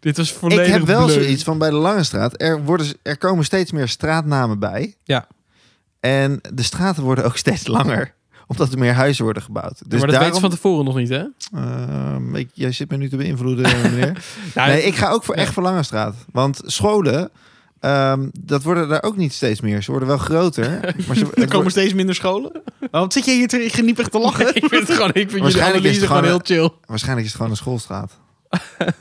Speaker 3: Dit was
Speaker 1: ik
Speaker 3: volledig
Speaker 1: heb wel
Speaker 3: bleu.
Speaker 1: zoiets van bij de Lange Straat. Er, worden, er komen steeds meer straatnamen bij.
Speaker 3: Ja.
Speaker 1: En de straten worden ook steeds langer, omdat er meer huizen worden gebouwd. Dus
Speaker 3: maar dat
Speaker 1: daarom,
Speaker 3: weten ze van tevoren nog niet, hè?
Speaker 1: Ehm, ik, jij zit me nu te beïnvloeden, meneer. Nee, ik ga ook voor echt voor Lange Straat. Want scholen, ehm, dat worden daar ook niet steeds meer. Ze worden wel groter. Maar ze,
Speaker 2: Er komen steeds minder scholen. Waarom Oh, zit je hier te geniepig te lachen?
Speaker 3: ik vind het gewoon, ik vind jullie
Speaker 1: Waarschijnlijk is
Speaker 3: analyse
Speaker 1: het
Speaker 3: gewoon heel
Speaker 1: gewoon eh,
Speaker 3: chill.
Speaker 1: waarschijnlijk is het gewoon een schoolstraat.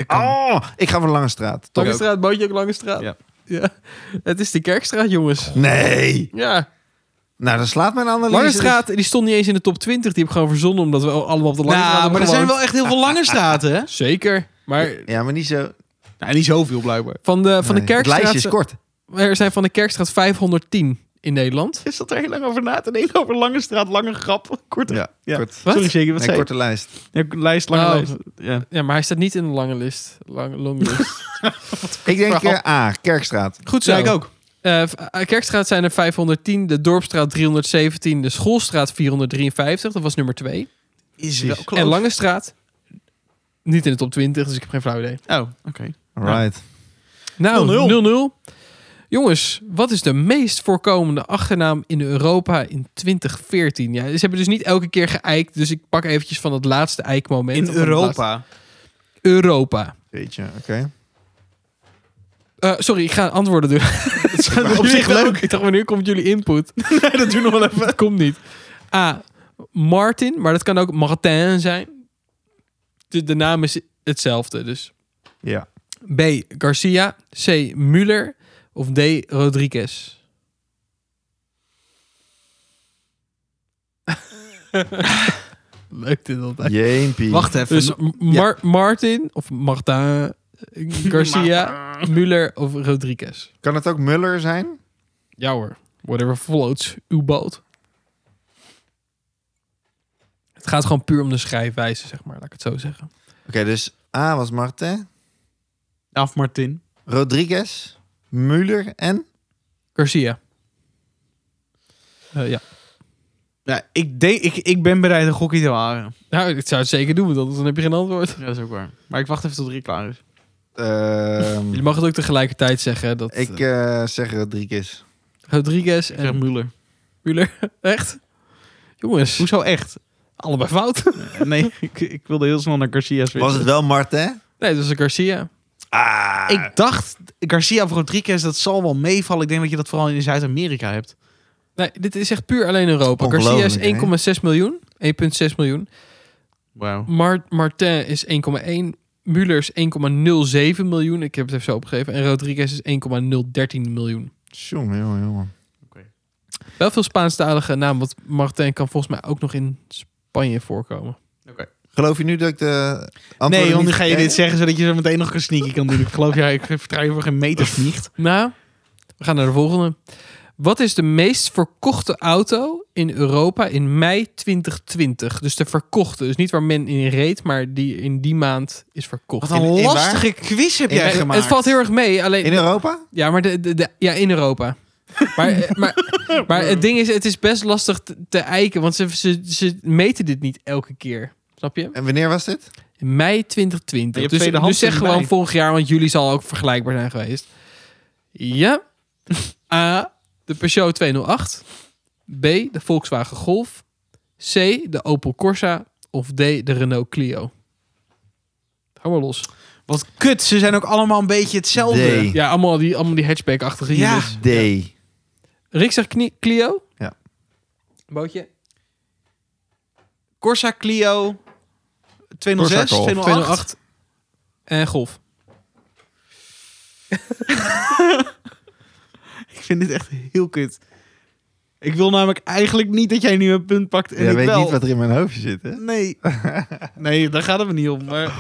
Speaker 1: Oh, ik ga voor Lange Straat. Toch?
Speaker 3: Lange straat, bootje ook lange straat.
Speaker 2: Ja.
Speaker 3: ja. Het is de Kerkstraat, jongens.
Speaker 1: Nee.
Speaker 3: Ja.
Speaker 1: Nou, dan slaat mijn analyse.
Speaker 3: Lange straat, die stond niet eens in de top 20. Die heb ik gewoon verzonnen, omdat we allemaal op de lange straat
Speaker 2: Nou,
Speaker 3: hebben
Speaker 2: maar er zijn
Speaker 3: gewoond.
Speaker 2: wel echt heel veel lange straten, hè?
Speaker 3: Zeker. Maar
Speaker 1: Ja, maar niet zo.
Speaker 2: Nou, niet zoveel blijkbaar.
Speaker 3: van de, van
Speaker 1: Nee,
Speaker 3: de
Speaker 1: Het lijstje is
Speaker 3: Kerkstraat...
Speaker 1: kort.
Speaker 3: Er zijn van de Kerkstraat 510 in Nederland.
Speaker 2: Is dat er heel lang over na te denken? Over lange straat, lange grap, korte...
Speaker 1: Ja, kort.
Speaker 3: Wat?
Speaker 2: Sorry, zeker, wat
Speaker 1: Nee,
Speaker 2: zei
Speaker 1: korte lijst.
Speaker 2: je? Ja, lijst, lange
Speaker 3: Oh.
Speaker 2: lijst. Ja.
Speaker 3: Ja, maar hij staat niet in de lange list. Lang, longlist.
Speaker 1: Ik denk
Speaker 3: verhaal.
Speaker 1: eh, A, Kerkstraat.
Speaker 3: Goed
Speaker 2: Zo. ik ook.
Speaker 3: Eh, v- eh, Kerkstraat zijn er 510, de Dorpstraat 317, de Schoolstraat 453, dat was nummer 2.
Speaker 2: Is
Speaker 1: Precies.
Speaker 2: wel close.
Speaker 3: En Lange Straat, niet in de top 20, dus ik heb geen flauw idee.
Speaker 2: Oh, oké.
Speaker 1: Right.
Speaker 2: 0-0.
Speaker 3: Nou, 0-0. Jongens, wat is de meest voorkomende achternaam in Europa in 2014? Ja, ze hebben dus niet elke keer geëikt. Dus ik pak eventjes van het laatste eikmoment.
Speaker 2: In
Speaker 3: Of van het laatste-
Speaker 2: Europa.
Speaker 3: Europa.
Speaker 1: Weet je, oké.
Speaker 3: Eh, sorry, ik ga antwoorden dus. doen.
Speaker 2: op zich leuk.
Speaker 3: Ik dacht, wanneer komt jullie input?
Speaker 2: dat doen we nog wel even.
Speaker 3: Dat komt niet. A. Martin, maar dat kan ook Martin zijn. De, de naam is hetzelfde, dus.
Speaker 1: Ja.
Speaker 3: B. Garcia. C. Muller. Of D. Rodriguez. Leuk dit altijd.
Speaker 1: Jeempie.
Speaker 2: Wacht even.
Speaker 3: Dus Mar- Martin of Martin Garcia, Muller of Rodriguez.
Speaker 1: Kan het ook Muller zijn?
Speaker 3: Ja hoor, whatever floats uw boot. Het gaat gewoon puur om de schrijfwijze, zeg maar, laat ik het zo zeggen.
Speaker 1: Oké, dus A was Martin,
Speaker 2: Af Martin.
Speaker 1: Rodriguez, Muller en...
Speaker 3: Garcia. Eh, ja,
Speaker 2: Ja, ik, denk, ik, ik ben bereid een gokje te wagen.
Speaker 3: nou, ik zou het zeker doen, want anders dan heb je geen antwoord.
Speaker 2: Ja, dat is ook waar. Maar ik wacht even tot Rick klaar is.
Speaker 1: ehm,
Speaker 3: Je mag het ook tegelijkertijd zeggen dat
Speaker 1: ik
Speaker 3: eh,
Speaker 1: eh, zeg Rodriguez.
Speaker 3: Rodriguez
Speaker 2: Ik zeg
Speaker 3: en
Speaker 2: Muller.
Speaker 3: Muller. Echt? Jongens,
Speaker 2: Hoezo echt?
Speaker 3: allebei fout.
Speaker 2: Nee, ik, ik wilde heel snel naar Garcia switchen.
Speaker 1: Was het wel Martin?
Speaker 3: Nee, dat is een Garcia.
Speaker 1: Ah.
Speaker 2: Ik dacht, Garcia of Rodriguez, dat zal wel meevallen. Ik denk dat je dat vooral in Zuid-Amerika hebt.
Speaker 3: Nee, dit is echt puur alleen Europa. Garcia is
Speaker 1: Ongelooflijk,
Speaker 3: 1,6 miljoen. 1,6 miljoen.
Speaker 2: Wauw.
Speaker 3: Mar- Martin is 1,1. Muller is 1,07 miljoen. Ik heb het even zo opgegeven. En Rodriguez is 1,013 miljoen.
Speaker 1: Tjonge, jonge, jonge.
Speaker 3: Wel veel Spaanstalige naam, want Martin kan volgens mij ook nog in Spanje voorkomen.
Speaker 1: Geloof je nu dat ik de antwoorden
Speaker 2: Nee, want nu
Speaker 1: niet-
Speaker 2: ga je
Speaker 1: eh,
Speaker 2: dit zeggen zodat je zo meteen nog een sneaky kan doen. Ik geloof, ja, ik vertrouw je voor geen meter sneakt.
Speaker 3: Nou, we gaan naar de volgende. Wat is de meest verkochte auto in Europa in mei 2020? Dus de verkochte. Dus niet waar men in reed, maar die in die maand is verkocht.
Speaker 2: Wat een
Speaker 1: in waar?
Speaker 2: lastige quiz heb
Speaker 1: In-
Speaker 2: jij
Speaker 1: in-
Speaker 2: gemaakt.
Speaker 3: het valt heel erg mee. Alleen,
Speaker 1: In Europa?
Speaker 3: Ja, maar de, de, de- ja, in Europa. maar, eh, maar, maar het ding is, het is best lastig te, te eiken, want ze, ze, ze meten dit niet elke keer. Snap je?
Speaker 1: En wanneer was dit?
Speaker 3: In mei
Speaker 2: Je
Speaker 3: 2020.
Speaker 2: hebt
Speaker 3: Dus,
Speaker 2: tweedehands
Speaker 3: dus zeg
Speaker 2: in
Speaker 3: gewoon
Speaker 2: mei.
Speaker 3: vorig jaar, want jullie zal ook vergelijkbaar zijn geweest. Ja. A. De Peugeot 208. B. De Volkswagen Golf. C. De Opel Corsa. Of D. De Renault Clio. Hou maar los.
Speaker 2: Wat kut, ze zijn ook allemaal een beetje hetzelfde.
Speaker 1: D.
Speaker 3: Ja, allemaal die, allemaal die hatchback-achtige
Speaker 2: Ja.
Speaker 3: jongens.
Speaker 1: D.
Speaker 3: Rick zegt knie- Clio.
Speaker 1: Ja.
Speaker 3: Bootje.
Speaker 2: Corsa Clio 206,
Speaker 1: Corsa Golf.
Speaker 2: 208.
Speaker 3: 208. En golf.
Speaker 2: Ik vind dit echt heel kut. Ik wil namelijk eigenlijk niet dat jij nu een punt pakt en
Speaker 1: Jij
Speaker 2: ik
Speaker 1: weet
Speaker 2: wel.
Speaker 1: niet wat er in mijn hoofdje zit, hè?
Speaker 2: Nee. nee, daar gaat het me niet om. Maar het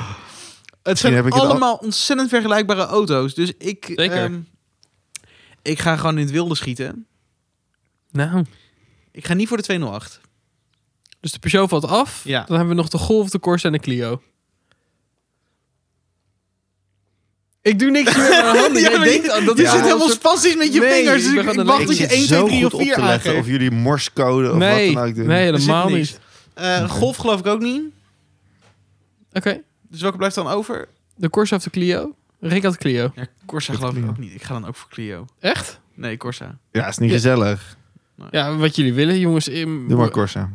Speaker 1: heb
Speaker 2: zijn
Speaker 1: ik het al-
Speaker 2: allemaal ontzettend vergelijkbare auto's. Dus ik,
Speaker 3: Zeker.
Speaker 2: ehm, ik ga gewoon in het wilde schieten.
Speaker 3: Nou.
Speaker 2: Ik ga niet voor de 208.
Speaker 3: Dus de Peugeot valt af.
Speaker 2: Ja.
Speaker 3: Dan hebben we nog de Golf, de Corsa en de Clio. Ik doe niks meer aan de handen. Jij
Speaker 2: maar
Speaker 3: denkt-
Speaker 2: je-
Speaker 3: dat
Speaker 2: je
Speaker 3: is
Speaker 2: zit
Speaker 3: een
Speaker 2: helemaal
Speaker 3: soort-
Speaker 2: spastisch met je
Speaker 3: Nee,
Speaker 2: vingers.
Speaker 3: ik
Speaker 2: Dus
Speaker 3: ben
Speaker 2: ik,
Speaker 3: gewoon
Speaker 2: ik
Speaker 3: aan
Speaker 2: wacht
Speaker 3: het
Speaker 2: dat je
Speaker 1: zit
Speaker 2: 1, 2, 3 of
Speaker 1: goed op
Speaker 2: 4
Speaker 1: te leggen
Speaker 2: aangeeft.
Speaker 1: of jullie morscode of
Speaker 3: nee,
Speaker 1: wat dan ook doen.
Speaker 3: nee,
Speaker 2: Er zit
Speaker 3: helemaal
Speaker 2: niks.
Speaker 3: niet.
Speaker 2: Eh, Golf geloof ik ook niet.
Speaker 3: Oké.
Speaker 2: Dus welke blijft dan over?
Speaker 3: De Corsa of de Clio? Rick had de Clio.
Speaker 2: Ja, Corsa
Speaker 1: Met
Speaker 2: geloof ik
Speaker 1: Clio.
Speaker 2: ook niet. Ik ga dan ook voor Clio.
Speaker 3: Echt?
Speaker 2: Nee, Corsa.
Speaker 1: Ja, is niet gezellig.
Speaker 3: Ja, wat jullie willen, jongens. Ehm, In...
Speaker 1: Doe maar Corsa.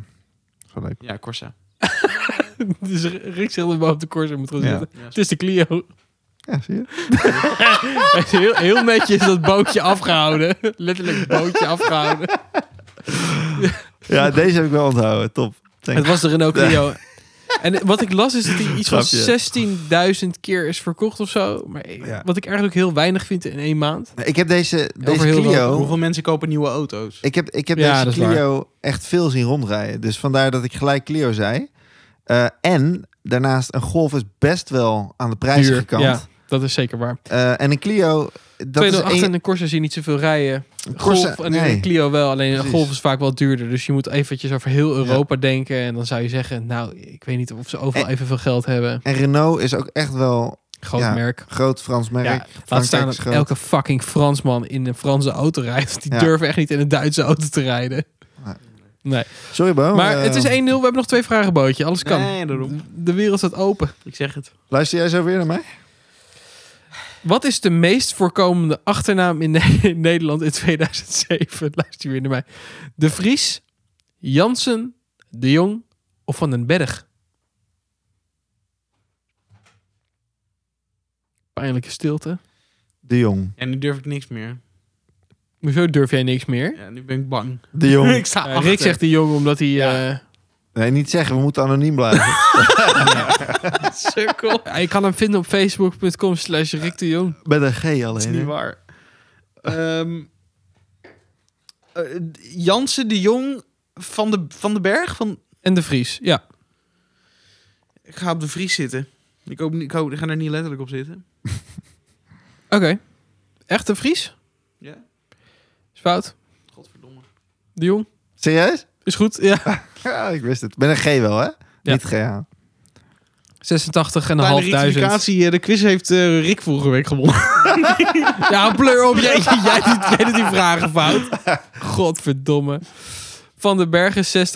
Speaker 1: Zo leuk.
Speaker 2: Ja, Corsa.
Speaker 3: Dus Rick zegt dat we op de Corsa moeten gaan
Speaker 1: Ja.
Speaker 3: zitten.
Speaker 2: Dus
Speaker 3: Het is de Clio.
Speaker 1: Ja, zie je?
Speaker 3: Hij is heel, heel netjes dat bootje afgehouden. Letterlijk bootje afgehouden.
Speaker 1: Ja, deze heb ik wel onthouden. Top. Thanks.
Speaker 3: Het was de Renault Clio. En wat ik las is dat hij iets van
Speaker 1: Grapje.
Speaker 3: 16.000 keer is verkocht of zo. Maar ik-
Speaker 1: Ja.
Speaker 3: wat ik eigenlijk heel weinig vind in één maand.
Speaker 1: Ik heb deze, deze
Speaker 3: heel
Speaker 1: Clio...
Speaker 2: Hoeveel mensen kopen nieuwe auto's?
Speaker 1: Ik heb, ik heb
Speaker 3: Ja, dat
Speaker 1: deze
Speaker 3: is waar.
Speaker 1: Clio echt veel zien rondrijden. Dus vandaar dat ik gelijk Clio zei. Eh, en daarnaast, een Golf is best wel aan de
Speaker 3: Duur,
Speaker 1: prijzige kant.
Speaker 3: Ja, dat is zeker waar.
Speaker 1: Eh, en een Clio... Dat is
Speaker 3: 208
Speaker 1: één-
Speaker 3: en een Corsa zie je niet zoveel rijden.
Speaker 1: Corsa-
Speaker 3: Golf en
Speaker 1: nee.
Speaker 3: een Clio wel. Alleen een
Speaker 1: Precies.
Speaker 3: Golf is vaak wel duurder. Dus je moet eventjes over heel Europa denken. En dan zou je zeggen, nou, ik weet niet of ze overal
Speaker 1: En-
Speaker 3: evenveel geld hebben.
Speaker 1: En Renault is ook echt wel
Speaker 3: Groot
Speaker 1: Ja.
Speaker 3: merk.
Speaker 1: groot Frans merk.
Speaker 3: Ja, laat
Speaker 1: Frankrijk
Speaker 3: staan
Speaker 1: is
Speaker 3: dat
Speaker 1: groot.
Speaker 3: elke fucking Fransman in een Franse auto rijdt. Die
Speaker 1: Ja.
Speaker 3: durven echt niet in een Duitse auto te rijden.
Speaker 1: Nee.
Speaker 3: Nee.
Speaker 1: Sorry, Bo.
Speaker 3: Maar
Speaker 1: eh,
Speaker 3: het is 1-0. We hebben nog twee vragen, bootje. Alles kan.
Speaker 2: Nee, daarom.
Speaker 3: De wereld staat open.
Speaker 2: Ik zeg het.
Speaker 1: Luister jij zo weer naar mij?
Speaker 3: Wat is de meest voorkomende achternaam in, Ne- in Nederland in 2007? Luister weer naar mij. De Vries, Jansen, De Jong of Van den Berg? Pijnlijke stilte.
Speaker 1: De Jong.
Speaker 2: En nu durf ik niks meer.
Speaker 3: Hoezo durf jij niks meer?
Speaker 2: Ja, nu ben ik bang.
Speaker 1: De Jong.
Speaker 2: Ik sta
Speaker 3: Eh,
Speaker 2: achter.
Speaker 3: Rick zegt De Jong omdat hij...
Speaker 2: Ja.
Speaker 3: eh,
Speaker 1: Nee, niet zeggen. We moeten anoniem blijven.
Speaker 3: Cirkel. Ja, je kan hem vinden op facebook.com slash Rick de Jong.
Speaker 1: Met een G alleen.
Speaker 2: Dat is
Speaker 1: hè?
Speaker 2: niet waar. Ehm, eh, Jansen de Jong van de, van de Berg? Van,
Speaker 3: En de Vries, ja.
Speaker 2: ik ga op de Vries zitten. Ik, hoop, niet- ik, hoop, ik ga er niet letterlijk op zitten.
Speaker 3: Oké. Echt de Vries?
Speaker 2: Ja?
Speaker 3: Is fout.
Speaker 2: Godverdomme.
Speaker 3: De Jong.
Speaker 1: Serieus?
Speaker 3: Is goed, ja.
Speaker 1: Ja, ik wist het. Met een G wel, hè?
Speaker 3: Ja.
Speaker 1: Niet GH.
Speaker 3: 86.500.
Speaker 2: rectificatie. eh, De quiz heeft eh, Rick vorige week gewonnen.
Speaker 3: Ja, pleur op. Jij, jij, jij, doet- jij doet die vragen fout. Godverdomme. Van den Bergen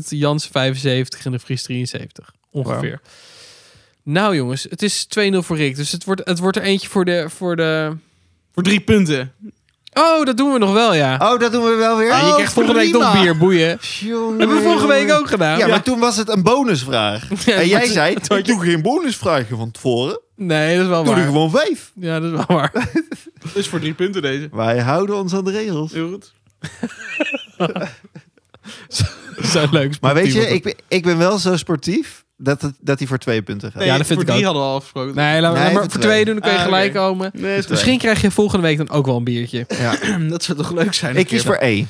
Speaker 3: 60.000, Jans 75 en de Vries 73. Ongeveer. Nou jongens, het is 2-0 voor Rick. Dus het wordt, het wordt er eentje voor de, voor de...
Speaker 2: Voor drie punten.
Speaker 3: Oh, dat doen we nog wel, ja.
Speaker 1: Oh, dat doen we wel weer?
Speaker 3: Ja, je krijgt volgende week nog bier, boeien.
Speaker 1: Jongen,
Speaker 3: Hebben we vorige week ook gedaan?
Speaker 1: Ja, maar toen was het een bonusvraag.
Speaker 3: Ja,
Speaker 1: en jij
Speaker 3: maar-
Speaker 1: zei, ik doe geen bonusvragen van tevoren.
Speaker 3: Nee, dat is wel
Speaker 1: Doe er
Speaker 3: waar.
Speaker 1: gewoon vijf.
Speaker 3: Ja, dat is wel waar.
Speaker 2: Dus voor drie punten deze.
Speaker 1: Wij houden ons aan de regels.
Speaker 2: Heel goed.
Speaker 3: Zo leuk.
Speaker 1: Maar weet je,
Speaker 3: sportief.
Speaker 1: ik ben, ik ben wel zo sportief dat, het, dat hij voor twee punten gaat.
Speaker 2: Nee,
Speaker 3: Ja, dat vind
Speaker 2: voor
Speaker 3: ik
Speaker 2: drie
Speaker 3: ook.
Speaker 2: hadden we al afgesproken.
Speaker 3: Nee, laat,
Speaker 1: Nee,
Speaker 3: laat maar
Speaker 1: voor
Speaker 3: voor
Speaker 1: twee.
Speaker 3: twee doen, dan kun je
Speaker 2: Ah,
Speaker 3: gelijk
Speaker 2: oké.
Speaker 3: komen.
Speaker 2: Nee,
Speaker 1: Dus
Speaker 2: is
Speaker 3: Misschien krijg je volgende week dan ook wel een biertje.
Speaker 2: goed. dat zou toch leuk zijn?
Speaker 1: Ik kies voor E.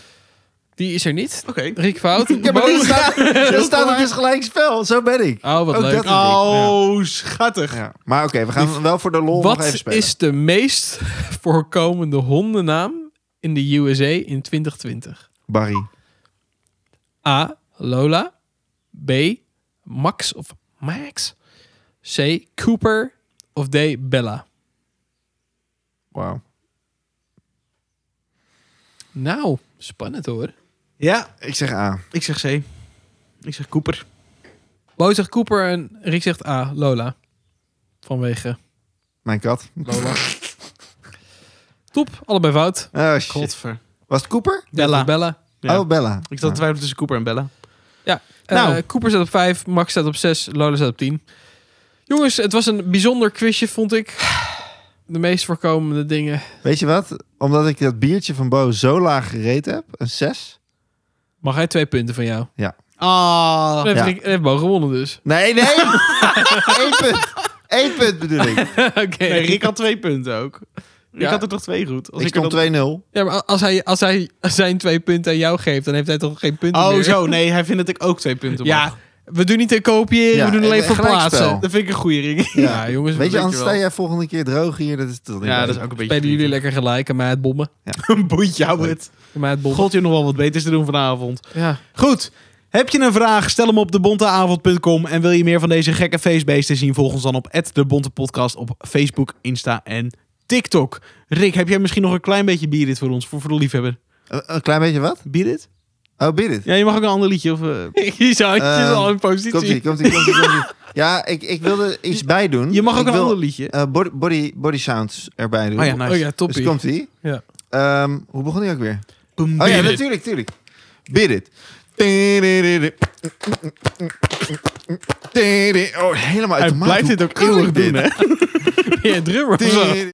Speaker 3: Die is er niet.
Speaker 2: Oké.
Speaker 3: Rick fout.
Speaker 1: Ja, maar dan
Speaker 3: Boos.
Speaker 1: staat, dan staat het dus gelijk spel. Zo ben ik.
Speaker 3: Oh, wat
Speaker 1: Ook
Speaker 3: leuk.
Speaker 1: dat-
Speaker 2: Oh, schattig.
Speaker 1: Ja. Maar oké, we gaan wel voor de lol nog even
Speaker 3: Wat
Speaker 1: spelen.
Speaker 3: is de meest voorkomende hondennaam in de USA in 2020?
Speaker 1: Barry.
Speaker 3: A. Lola. B. Max of Max. C. Cooper. Of D. Bella.
Speaker 1: Wauw.
Speaker 3: Nou, spannend hoor.
Speaker 2: Ja,
Speaker 1: Ik zeg A.
Speaker 2: ik zeg C. Ik zeg Cooper.
Speaker 3: Bo zegt Cooper en Rick zegt A. Lola. Vanwege
Speaker 1: Mijn kat.
Speaker 3: Lola. Top, allebei fout.
Speaker 1: Oh, shit.
Speaker 2: Godver.
Speaker 1: Was het Cooper?
Speaker 2: Bella.
Speaker 3: Bella.
Speaker 2: Ja.
Speaker 1: Oh, Bella.
Speaker 2: Ik zat te
Speaker 1: Ah.
Speaker 2: twijfelen tussen Cooper en Bella.
Speaker 3: Nou.
Speaker 2: Nou.
Speaker 3: Cooper staat op 5, Max staat op 6, Lola staat op 10. Jongens, het was een bijzonder quizje, vond ik. De meest voorkomende dingen.
Speaker 1: Weet je wat? Omdat ik dat biertje van Bo zo laag gereed heb, een 6.
Speaker 3: Mag hij twee punten van jou?
Speaker 2: Ah.
Speaker 3: Dan heeft,
Speaker 1: Ja.
Speaker 3: Rick- heeft Bo gewonnen dus.
Speaker 1: Nee, nee! Eén punt. Eén punt bedoel ik.
Speaker 3: Oké.
Speaker 2: Nee, Rick had twee punten ook.
Speaker 3: Ja.
Speaker 2: Ik had er toch twee goed. Als
Speaker 1: ik
Speaker 2: er
Speaker 1: stond
Speaker 2: dan-
Speaker 1: 2-0.
Speaker 3: Ja, maar als hij, als hij zijn twee punten aan jou geeft, dan heeft hij toch geen punten meer?
Speaker 2: Oh, zo. Nee, hij vindt dat ik ook twee punten mag.
Speaker 3: Ja, we doen niet te kopiëren,
Speaker 1: Ja,
Speaker 3: we doen alleen
Speaker 1: en- en
Speaker 3: verplaatsen.
Speaker 1: gelijkspel.
Speaker 2: Dat vind ik een goede Rick.
Speaker 3: Ja, jongens.
Speaker 1: Weet je,
Speaker 3: we
Speaker 1: anders
Speaker 2: wel.
Speaker 1: sta jij volgende keer droog hier. Dat is toch niet
Speaker 2: Ja,
Speaker 1: leuk.
Speaker 2: dat is ook een beetje...
Speaker 3: spelen jullie lekker gelijk en mij het bommen.
Speaker 2: Een boetje, hou het.
Speaker 3: En mij het bommen.
Speaker 2: God, je nog wel wat beters te doen vanavond.
Speaker 3: Ja.
Speaker 2: Goed. Heb je een vraag? Stel hem op debonteavond.com. En wil je meer van deze gekke feestbeesten zien? Volg ons dan op @debontepodcast op Facebook, Insta en TikTok. Rick, heb jij misschien nog een klein beetje bierrit voor ons? Voor, voor de liefhebber.
Speaker 1: Een, een klein beetje wat?
Speaker 2: Bierrit?
Speaker 1: Oh, bied het.
Speaker 2: Ja, je mag ook een ander liedje. Of, eh,
Speaker 3: Je zou je is
Speaker 1: Ehm,
Speaker 3: al in
Speaker 1: Komt ie,
Speaker 3: positie.
Speaker 1: komt ie, komt ie. Ja, ik, ik wilde iets bij doen.
Speaker 2: je mag ook
Speaker 1: ik
Speaker 2: een
Speaker 1: wil,
Speaker 2: ander liedje.
Speaker 1: eh, body, body, body sounds erbij doen.
Speaker 2: Oh ja, nice.
Speaker 3: Oh ja,
Speaker 1: Dus
Speaker 3: toppie.
Speaker 1: komt ie.
Speaker 3: Ja.
Speaker 1: Ehm, hoe begon die ook weer? Oh ja,
Speaker 2: Bierrit.
Speaker 1: natuurlijk, natuurlijk. Bid it. Oh, helemaal uit
Speaker 2: Hij
Speaker 1: de maat.
Speaker 2: blijft
Speaker 1: Hoe
Speaker 2: dit ook
Speaker 1: kan
Speaker 2: eeuwig
Speaker 1: ik
Speaker 2: doen, hè?
Speaker 3: Ja, drummer of zo.